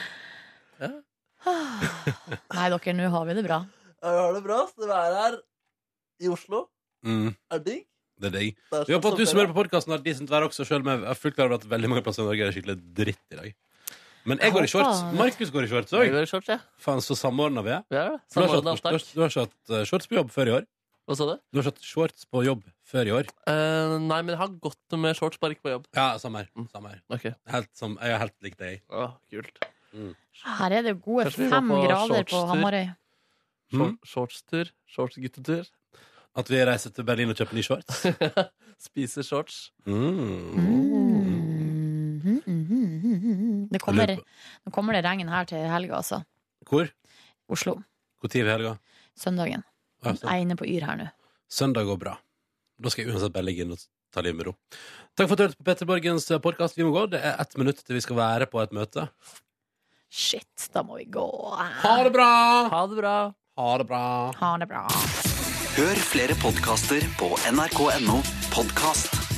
Nei, dere, nå har vi det bra.
Ja, vi har det bra. ass. Det været her i Oslo
Mm.
er digg.
Det er digg.
Det er
Vi håper at du som
sommer.
hører på podkasten, har decent vær også, selv om jeg er fullt klar over at veldig mange plasser i Norge er skikkelig dritt i dag. Men jeg går i shorts. Markus går i shorts
Jeg går i
òg.
shorts, jeg.
Faen, så samordna vi er.
Vi er det.
For Du har
Samordnet
ikke hatt- du har ikke hatt eh, shorts på jobb før i år.
Hva sa du?
Du har ikke hatt shorts på jobb før i år.
Eh, nei, men jeg har gått med shorts, bare ikke på jobb.
Ja, samme
Mm.
her. Samme her.
Ok.
Helt som, jeg er helt lik deg.
Ah, kult.
Her er det gode
Kanskje vi må
fem
på
grader på
shortstur?
Hamarøy.
Short, Shortstur. Shortsguttetur.
Mm. At vi reiser til Berlin og kjøper ny shorts? Mm.
Spiser shorts.
Det kommer, nå kommer det regn her til helga, altså.
Hvor?
Oslo.
Når i helga?
Søndagen.
Ja,
Jeg er inne på Yr her nå.
Søndag går bra. Da skal jeg uansett bare ligge inn og ta livet med ro. Takk for at du hørte på Petter Borgens podkast. Vi må gå. Det er ett minutt til vi skal være på et møte.
Shit, da må vi gå.
Ha det bra!
Ha det bra.
Ha det bra.
Ha det bra.
Hør flere podkaster på nrk.no podkast.